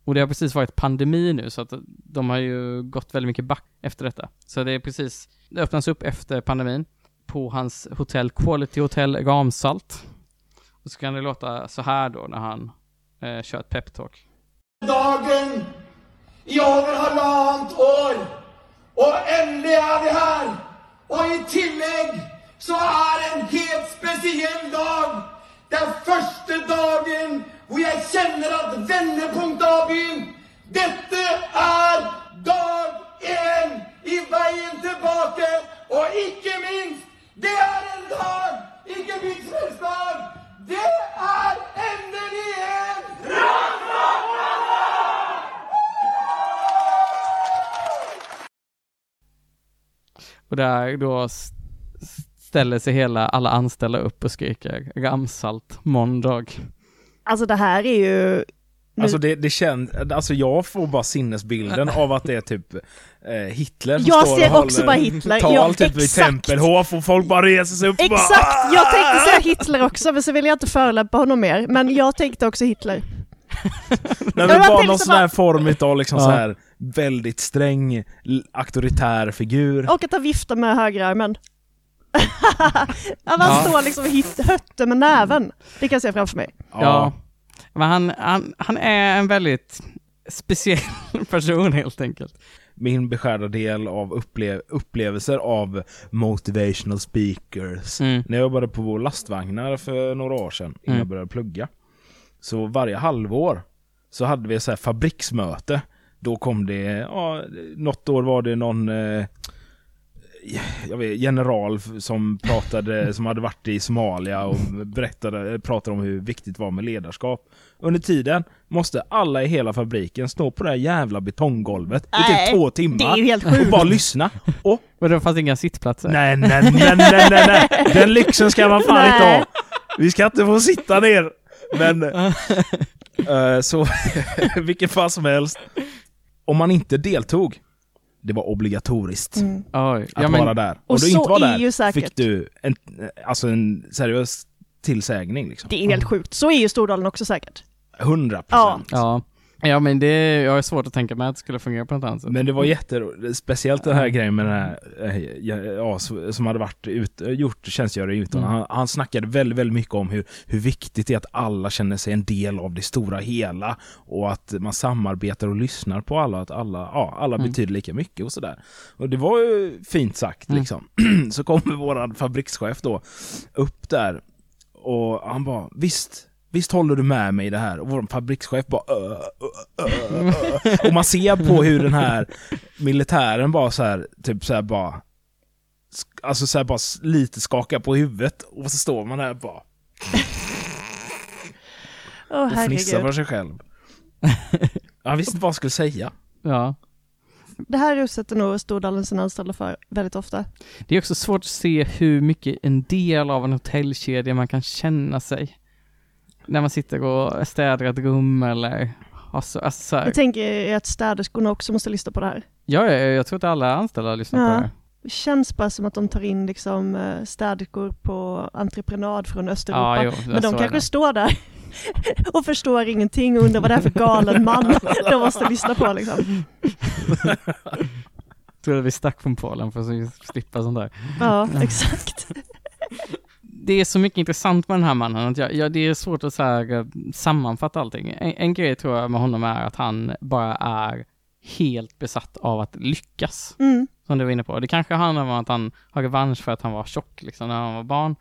Speaker 1: Och det har precis varit pandemi nu så att de har ju gått väldigt mycket back efter detta. Så det är precis, det öppnas upp efter pandemin på hans hotell Quality Hotel Ramsalt. Och så kan det låta så här då när han eh, kör ett peptalk.
Speaker 6: dagen i over halvannet år. Og endelig er vi her. Og i tillegg så er det en helt spesiell dag. Det er første dagen hvor jeg kjenner at vendepunktet har begynt. Dette er dag én i veien tilbake. Og ikke minst, det er en dag, ikke minst helst dag. Det er endelig en
Speaker 1: Och där då s- s- ställer sig hela, alla anställda upp och skriker Ramsalt måndag.
Speaker 3: Alltså det här är ju... Nu,
Speaker 2: Alltså det, det känns, alltså jag får bara sinnesbilden av att det är typ eh, Hitler som
Speaker 3: Jag
Speaker 2: står
Speaker 3: ser
Speaker 2: och
Speaker 3: också
Speaker 2: håller
Speaker 3: bara Hitler.
Speaker 2: tal
Speaker 3: Ja,
Speaker 2: typ i
Speaker 3: exakt.
Speaker 2: Tempelhof och folk bara reser sig upp och bara,
Speaker 3: Exakt! Jag tänkte säga Hitler också, men så vill jag inte förolämpa honom mer. Men jag tänkte också Hitler.
Speaker 2: Nej,
Speaker 3: Jag
Speaker 2: men bara
Speaker 3: tänkte
Speaker 2: någon sån här form utav liksom
Speaker 1: Ja.
Speaker 2: så här väldigt sträng, l- auktoritär figur.
Speaker 3: Och att han viftar med högerarmen. han
Speaker 1: Ja.
Speaker 3: står liksom och hit- hötter med näven. Det kan jag se framför mig.
Speaker 1: Ja. Men han, han, han är en väldigt speciell person helt enkelt.
Speaker 2: Min beskärda del av upple- upplevelser av motivational speakers.
Speaker 1: Mm.
Speaker 2: När jag jobbade på vår lastvagnar för några år sedan, innan
Speaker 1: Mm.
Speaker 2: jag började plugga. Så varje halvår så hade vi så här fabriksmöte. Då kom det, ja, något år var det någon eh, jag vet, general f- som pratade, som hade varit i Somalia och berättade, eh, pratade om hur viktigt det var med ledarskap. Under tiden måste alla i hela fabriken stå på det här jävla betonggolvet i
Speaker 3: Nej,
Speaker 2: typ två timmar
Speaker 3: det är ju helt
Speaker 2: och bara lyssna. Och
Speaker 1: Och det fanns inga sittplatser.
Speaker 2: Nej, nej, nej, nej, nej, nej. Den lyxen ska man fan inte ha. Vi ska inte få sitta ner. Men eh, så, vilken fan som helst. Om man inte deltog, det var obligatoriskt
Speaker 1: Oj.
Speaker 2: att
Speaker 1: Ja, men,
Speaker 2: vara där.
Speaker 3: Mm. Och
Speaker 2: Om du
Speaker 3: så
Speaker 2: inte var
Speaker 3: är
Speaker 2: där
Speaker 3: ju säkert.
Speaker 2: fick du en, alltså en seriös tillsägning. Liksom.
Speaker 3: Det är helt sjukt. Så är ju Stordalen också säkert.
Speaker 2: 100%.
Speaker 3: Ja.
Speaker 1: ja. ja, men det, jag har svårt att tänka mig att det skulle fungera på något annat sätt.
Speaker 2: Men det var jätteroligt, speciellt den här
Speaker 3: Mm.
Speaker 2: grejen med den här, eh, ja, ja, så- som hade varit ut, gjort tjänstgöring utan. Han, han snackade väldigt, väldigt mycket om hur, hur viktigt det är att alla känner sig en del av det stora hela och att man samarbetar och lyssnar på alla, att alla, ja, alla betyder lika mycket och sådär. Och det var ju fint sagt liksom. så kommer våran fabrikschef då upp där och han bara, visst, visst håller du med mig i det här? Och vår fabrikschef bara, "Ö, ö, ö, ö." Och man ser på hur den här militären bara så här, typ så här bara, sk- alltså så här bara s- lite skakar på huvudet. Och så står man här bara
Speaker 3: Åh
Speaker 2: och fnissar för
Speaker 3: herregud.
Speaker 2: sig själv. Jag visste inte vad jag skulle säga.
Speaker 1: Ja.
Speaker 3: Det här utsätter nog Stordalen sina anställda för väldigt ofta.
Speaker 1: Det är också svårt att se hur mycket en del av en hotellkedja man kan känna sig. När man sitter och städar ett rum eller har så, alltså, så här.
Speaker 3: Jag tänker ju att städerskorna också måste lyssna på det här.
Speaker 1: Ja, ja, jag tror att alla anställda lyssnar
Speaker 3: Ja.
Speaker 1: på det.
Speaker 3: Det känns bara som att de tar in liksom eh, städerskor på entreprenad från
Speaker 1: Ja,
Speaker 3: Östeuropa.
Speaker 1: jo,
Speaker 3: Men
Speaker 1: så
Speaker 3: de
Speaker 1: är
Speaker 3: kanske
Speaker 1: det.
Speaker 3: står där och förstår ingenting och undrar vad det är för galen man de måste lyssna på liksom.
Speaker 1: tror att vi stack från Polen för att slippa sånt där.
Speaker 3: Ja, exakt.
Speaker 1: Det är så mycket intressant med den här mannen att jag, jag, det är svårt att så här, eh, sammanfatta allting. En, en grej tror jag med honom är att han bara är helt besatt av att lyckas.
Speaker 3: Mm.
Speaker 1: Som du var inne på. Det kanske handlar om att han har revansch för att han var tjock liksom när han var barn.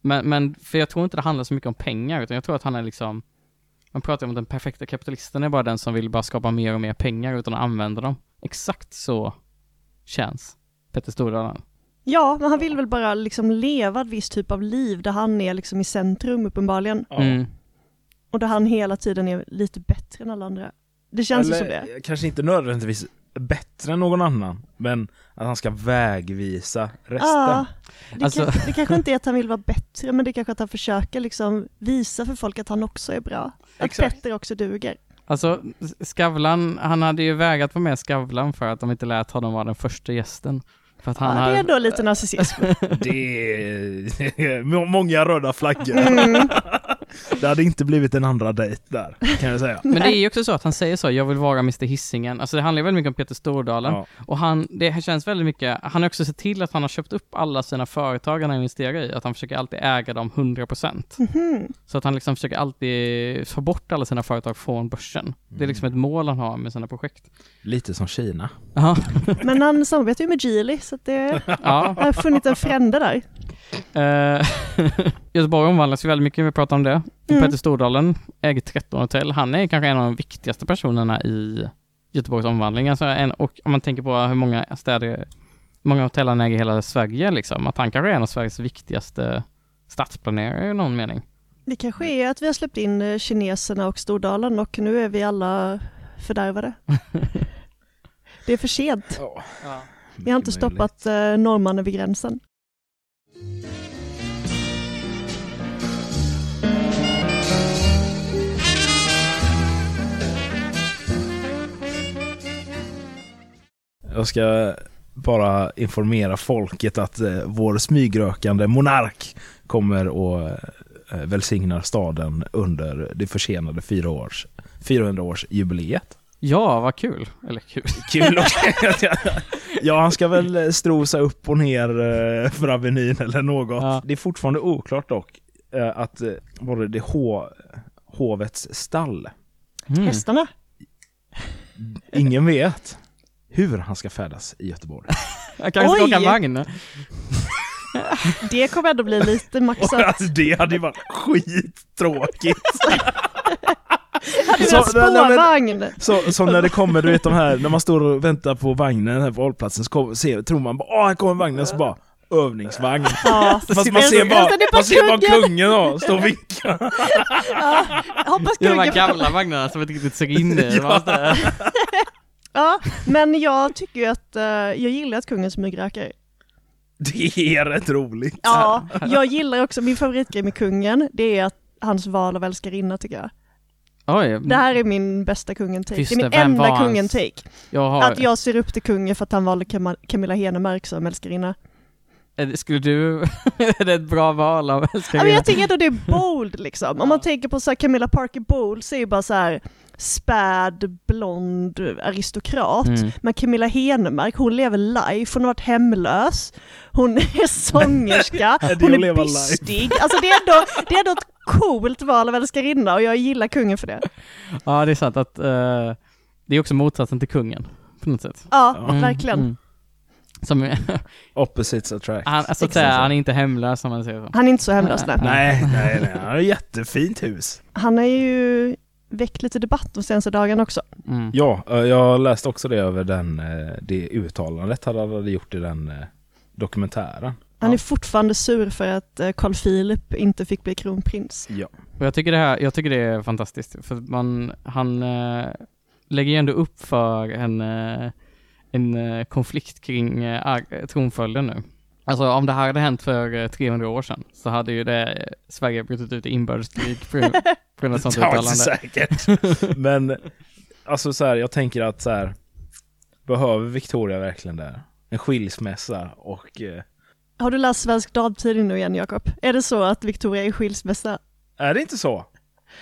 Speaker 1: Men, men, för jag tror inte det handlar så mycket om pengar, utan jag tror att han är liksom man pratar om att den perfekta kapitalisten är bara den som vill bara skapa mer och mer pengar utan att använda dem. Exakt så känns Petter Stordalen.
Speaker 3: Ja, men han vill väl bara liksom leva ett visst typ av liv där han är liksom i centrum uppenbarligen.
Speaker 1: Mm.
Speaker 3: Och där han hela tiden är lite bättre än alla andra. Det känns ju som det.
Speaker 2: Kanske inte nödvändigtvis bättre än någon annan, men att han ska vägvisa resten.
Speaker 3: Ja, det,
Speaker 2: Alltså-
Speaker 3: kan, det kanske inte är att han vill vara bättre, men det är kanske att han försöker liksom visa för folk att han också är bra. Att Petter också duger.
Speaker 1: Alltså, Skavlan, han hade ju vägrat vara med i Skavlan för att de inte lät honom vara den första gästen. För att han
Speaker 3: ja, det är
Speaker 1: har...
Speaker 3: då lite narcissism.
Speaker 2: Det är må- många röda flaggor.
Speaker 3: Mm.
Speaker 2: Det hade inte blivit en andra dejt där, kan jag säga.
Speaker 1: Men det är ju också så att han säger så, jag vill vara Mr Hisingen. Alltså det handlar ju väldigt mycket om Peter Stordalen.
Speaker 2: Ja.
Speaker 1: Och han, det här känns väldigt mycket, han har också sett till att han har köpt upp alla sina företag han investerar i, att han försöker alltid äga dem 100%.
Speaker 3: Mhm.
Speaker 1: Så att han liksom försöker alltid få bort alla sina företag från börsen. Det är liksom ett mål han har med sina projekt.
Speaker 2: Lite som Kina.
Speaker 1: Ja,
Speaker 3: Men han samarbetar ju med Geely, så att det
Speaker 1: ja.
Speaker 3: har funnit en frände där.
Speaker 1: Eh, Göteborg omvandlas ju väldigt mycket, vi pratar om det.
Speaker 3: Mm.
Speaker 1: Petter Stordalen äger 13 hotell. Han är kanske en av de viktigaste personerna i Göteborgs omvandling. Alltså en, och om man tänker på hur många städer, många hotell han äger i hela Sverige liksom. Att han kanske är en av Sveriges viktigaste stadsplanerare i någon mening.
Speaker 3: Det kanske är att vi har släppt in eh, kineserna och Stordalen och nu är vi alla fördärvade. Det är för sent. Vi har inte stoppat eh, norrmannen vid gränsen.
Speaker 2: Jag ska bara informera folket att eh, vår smygrökande monark kommer och eh, välsignar staden under det försenade 400 års, 400 års jubileet.
Speaker 1: Ja, vad kul. Eller kul.
Speaker 2: Kul också. Ja, han ska väl eh, strosa upp och ner eh, för Avenyn eller något.
Speaker 1: Ja.
Speaker 2: Det är fortfarande oklart dock eh, att eh, var det det ho- hovets stall?
Speaker 1: Mm.
Speaker 3: Hästarna?
Speaker 2: Ingen vet hur han ska färdas i Göteborg.
Speaker 1: Jag kanske ska
Speaker 3: Oj!
Speaker 1: åka vagn.
Speaker 3: Det kommer ändå bli lite maxat.
Speaker 2: Alltså, det hade ju varit skittråkigt.
Speaker 3: Hade vi
Speaker 2: Så-
Speaker 3: haft
Speaker 2: nej, nej, men-
Speaker 3: spårvagn?
Speaker 2: Så, som när det kommer, du vet de här, när man står och väntar på vagnen här på hållplatsen så kommer, ser, tror man bara åh, här kommer vagnen, så bara övningsvagn.
Speaker 3: Ja.
Speaker 2: Fast man ser bara,
Speaker 3: Alltså, det är bara
Speaker 2: man ser bara
Speaker 3: kungen.
Speaker 2: kungen då, står och vinkar.
Speaker 3: Jag hoppas
Speaker 1: Det är de här
Speaker 3: kungen får
Speaker 1: gamla vagnarna som inte riktigt ser in i. Man måste-
Speaker 3: Ja, men jag tycker ju att, eh, jag gillar att kungen smygröker.
Speaker 2: Det är rätt roligt.
Speaker 3: Ja, jag gillar också, min favoritgrej med kungen, det är att hans val av älskarinna tycker jag.
Speaker 1: Oj,
Speaker 3: Det här är min bästa kungen-take.
Speaker 1: Just
Speaker 3: Det är min
Speaker 1: det, vem var
Speaker 3: enda
Speaker 1: hans-
Speaker 3: kungen-take.
Speaker 1: jag har...
Speaker 3: Att jag ser upp till kungen för att han valde Cam- Camilla Henemark som älskarinna.
Speaker 1: Är det- Skulle du... är det ett bra val av
Speaker 3: Ja, men
Speaker 1: älskarinna?
Speaker 3: jag tycker ändå det är bold liksom. Om man tänker på så här, Camilla Parker Bowles är ju bara så här späd, blond aristokrat.
Speaker 1: Mm.
Speaker 3: Men Camilla Henemark, hon lever life, hon har varit hemlös, hon är sångerska,
Speaker 2: är
Speaker 3: hon
Speaker 2: att
Speaker 3: är
Speaker 2: leva life.
Speaker 3: bystig. Alltså det är, ändå, det är ändå ett coolt val av älskarinna och jag gillar kungen för det.
Speaker 1: Ja, det är sant att eh, det är också motsatsen till kungen på något sätt.
Speaker 3: Ja,
Speaker 2: Mm,
Speaker 3: verkligen.
Speaker 1: Mm. Som,
Speaker 2: Opposites attract.
Speaker 1: han, alltså, att säga, han är inte hemlös om man säger så.
Speaker 3: Han är inte så hemlös nej.
Speaker 2: Nej, nej, nej, han har ett jättefint hus.
Speaker 3: Han har ju väckt lite debatt de senaste dagarna också.
Speaker 1: Mm.
Speaker 2: Ja, eh, jag läste också det över den, eh, det uttalandet han hade gjort i den eh, dokumentären.
Speaker 3: Han
Speaker 1: Ja.
Speaker 3: är fortfarande sur för att eh, Carl Philip inte fick bli kronprins.
Speaker 1: Och jag tycker det här, jag tycker det är fantastiskt. För att man, han eh, lägger ju ändå upp för en, eh, en eh, konflikt kring eh, ar- tronföljden nu. Alltså om det här hade hänt för eh, 300 år sedan så hade ju det eh, Sverige brutit ut i inbördeskrig på grund- på grund av sånt
Speaker 2: Ja,
Speaker 1: uttalande.
Speaker 2: säkert. Men alltså så här, jag tänker att så här, behöver Victoria verkligen det? här? En skilsmässa och... eh,
Speaker 3: Har du läst Svensk Damtidning nu igen Jakob? Är det så att Victoria är skilsmässa?
Speaker 2: Är det inte så?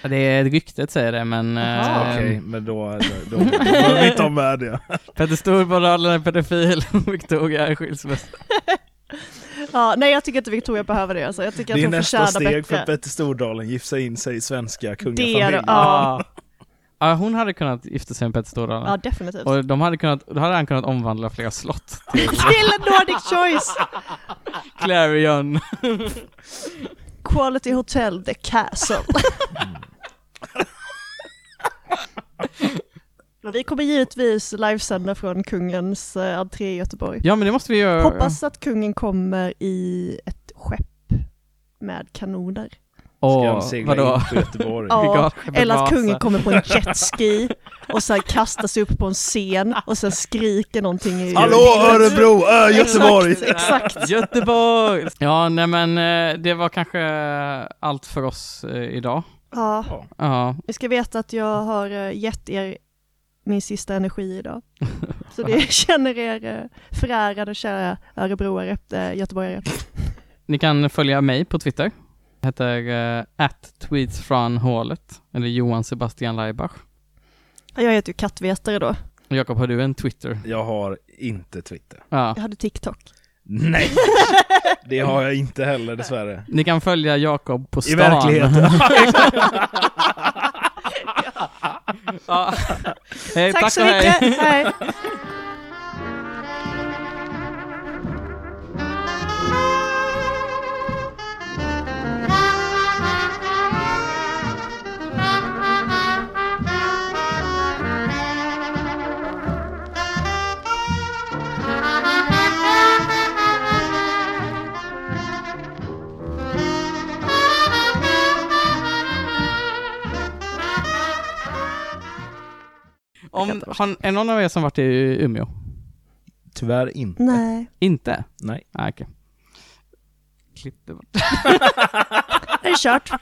Speaker 1: Det är ryktet säger det men...
Speaker 3: Jaha.
Speaker 1: eh,
Speaker 2: Okej, men då, då, då, då behöver vi inte ha med det.
Speaker 1: Petter Stordalen är pedofil och Victoria är skilsmässa.
Speaker 3: Ja, nej jag tycker inte Victoria behöver det alltså. Jag tycker
Speaker 2: Det
Speaker 3: att
Speaker 2: är
Speaker 3: hon
Speaker 2: nästa
Speaker 3: förtjänar
Speaker 2: steg för
Speaker 3: bättre.
Speaker 2: Petter Stordalen, gifta in sig i svenska
Speaker 3: det är
Speaker 2: kungafamiljen.
Speaker 3: det, ja.
Speaker 1: Ja, Ah. hon hade kunnat gifta sig med Petter Stordalen.
Speaker 3: ja, definitivt.
Speaker 1: Och de hade kunnat, då hade han kunnat omvandla flera slott.
Speaker 3: Till Nordic Choice!
Speaker 1: Clarion.
Speaker 3: Quality Hotel The Castle.
Speaker 2: Mm.
Speaker 3: Och Vi kommer givetvis livesända från kungens eh, entré i Göteborg.
Speaker 1: Ja, men det måste vi göra.
Speaker 3: Hoppas att kungen kommer i ett skepp med kanoner.
Speaker 1: Åh,
Speaker 2: Ska de segla
Speaker 1: vadå?
Speaker 2: in på Göteborg?
Speaker 3: Ja,
Speaker 1: Regalskeppet
Speaker 3: eller att
Speaker 1: Vasa.
Speaker 3: kungen kommer på en jetski och sen kastar sig upp på en scen och sen skriker någonting i
Speaker 2: äh,
Speaker 3: Exakt, exakt.
Speaker 1: Göteborg! Ja, nej men eh, det var kanske eh, allt för oss eh, idag.
Speaker 3: Ja,
Speaker 1: Ja,
Speaker 3: ni ska veta att jag har eh, gett er min sista energi idag. Så det känner er eh, förärade kära örebroare, eh, göteborgare.
Speaker 1: ni kan följa mig på Twitter. Jag heter eh, at tweets från hålet, eller Johan Sebastian Laibach.
Speaker 3: Jag heter ju kattvetare då.
Speaker 1: Och Jakob, har du en Twitter?
Speaker 2: Jag har inte Twitter.
Speaker 1: Ja.
Speaker 3: Jag hade TikTok.
Speaker 2: Nej! Det har jag inte heller dessvärre.
Speaker 1: Ni kan följa Jakob på stan.
Speaker 2: I verkligheten.
Speaker 1: Ja. Hej,
Speaker 3: Tack,
Speaker 1: tack
Speaker 3: så
Speaker 1: och hej.
Speaker 3: mycket! Hej.
Speaker 1: Om, har, är någon av er som varit i Umeå?
Speaker 2: Tyvärr inte.
Speaker 3: Nej.
Speaker 1: Inte?
Speaker 2: Nej.
Speaker 1: Ah, okej. Klipp det bort.
Speaker 3: Är det kört?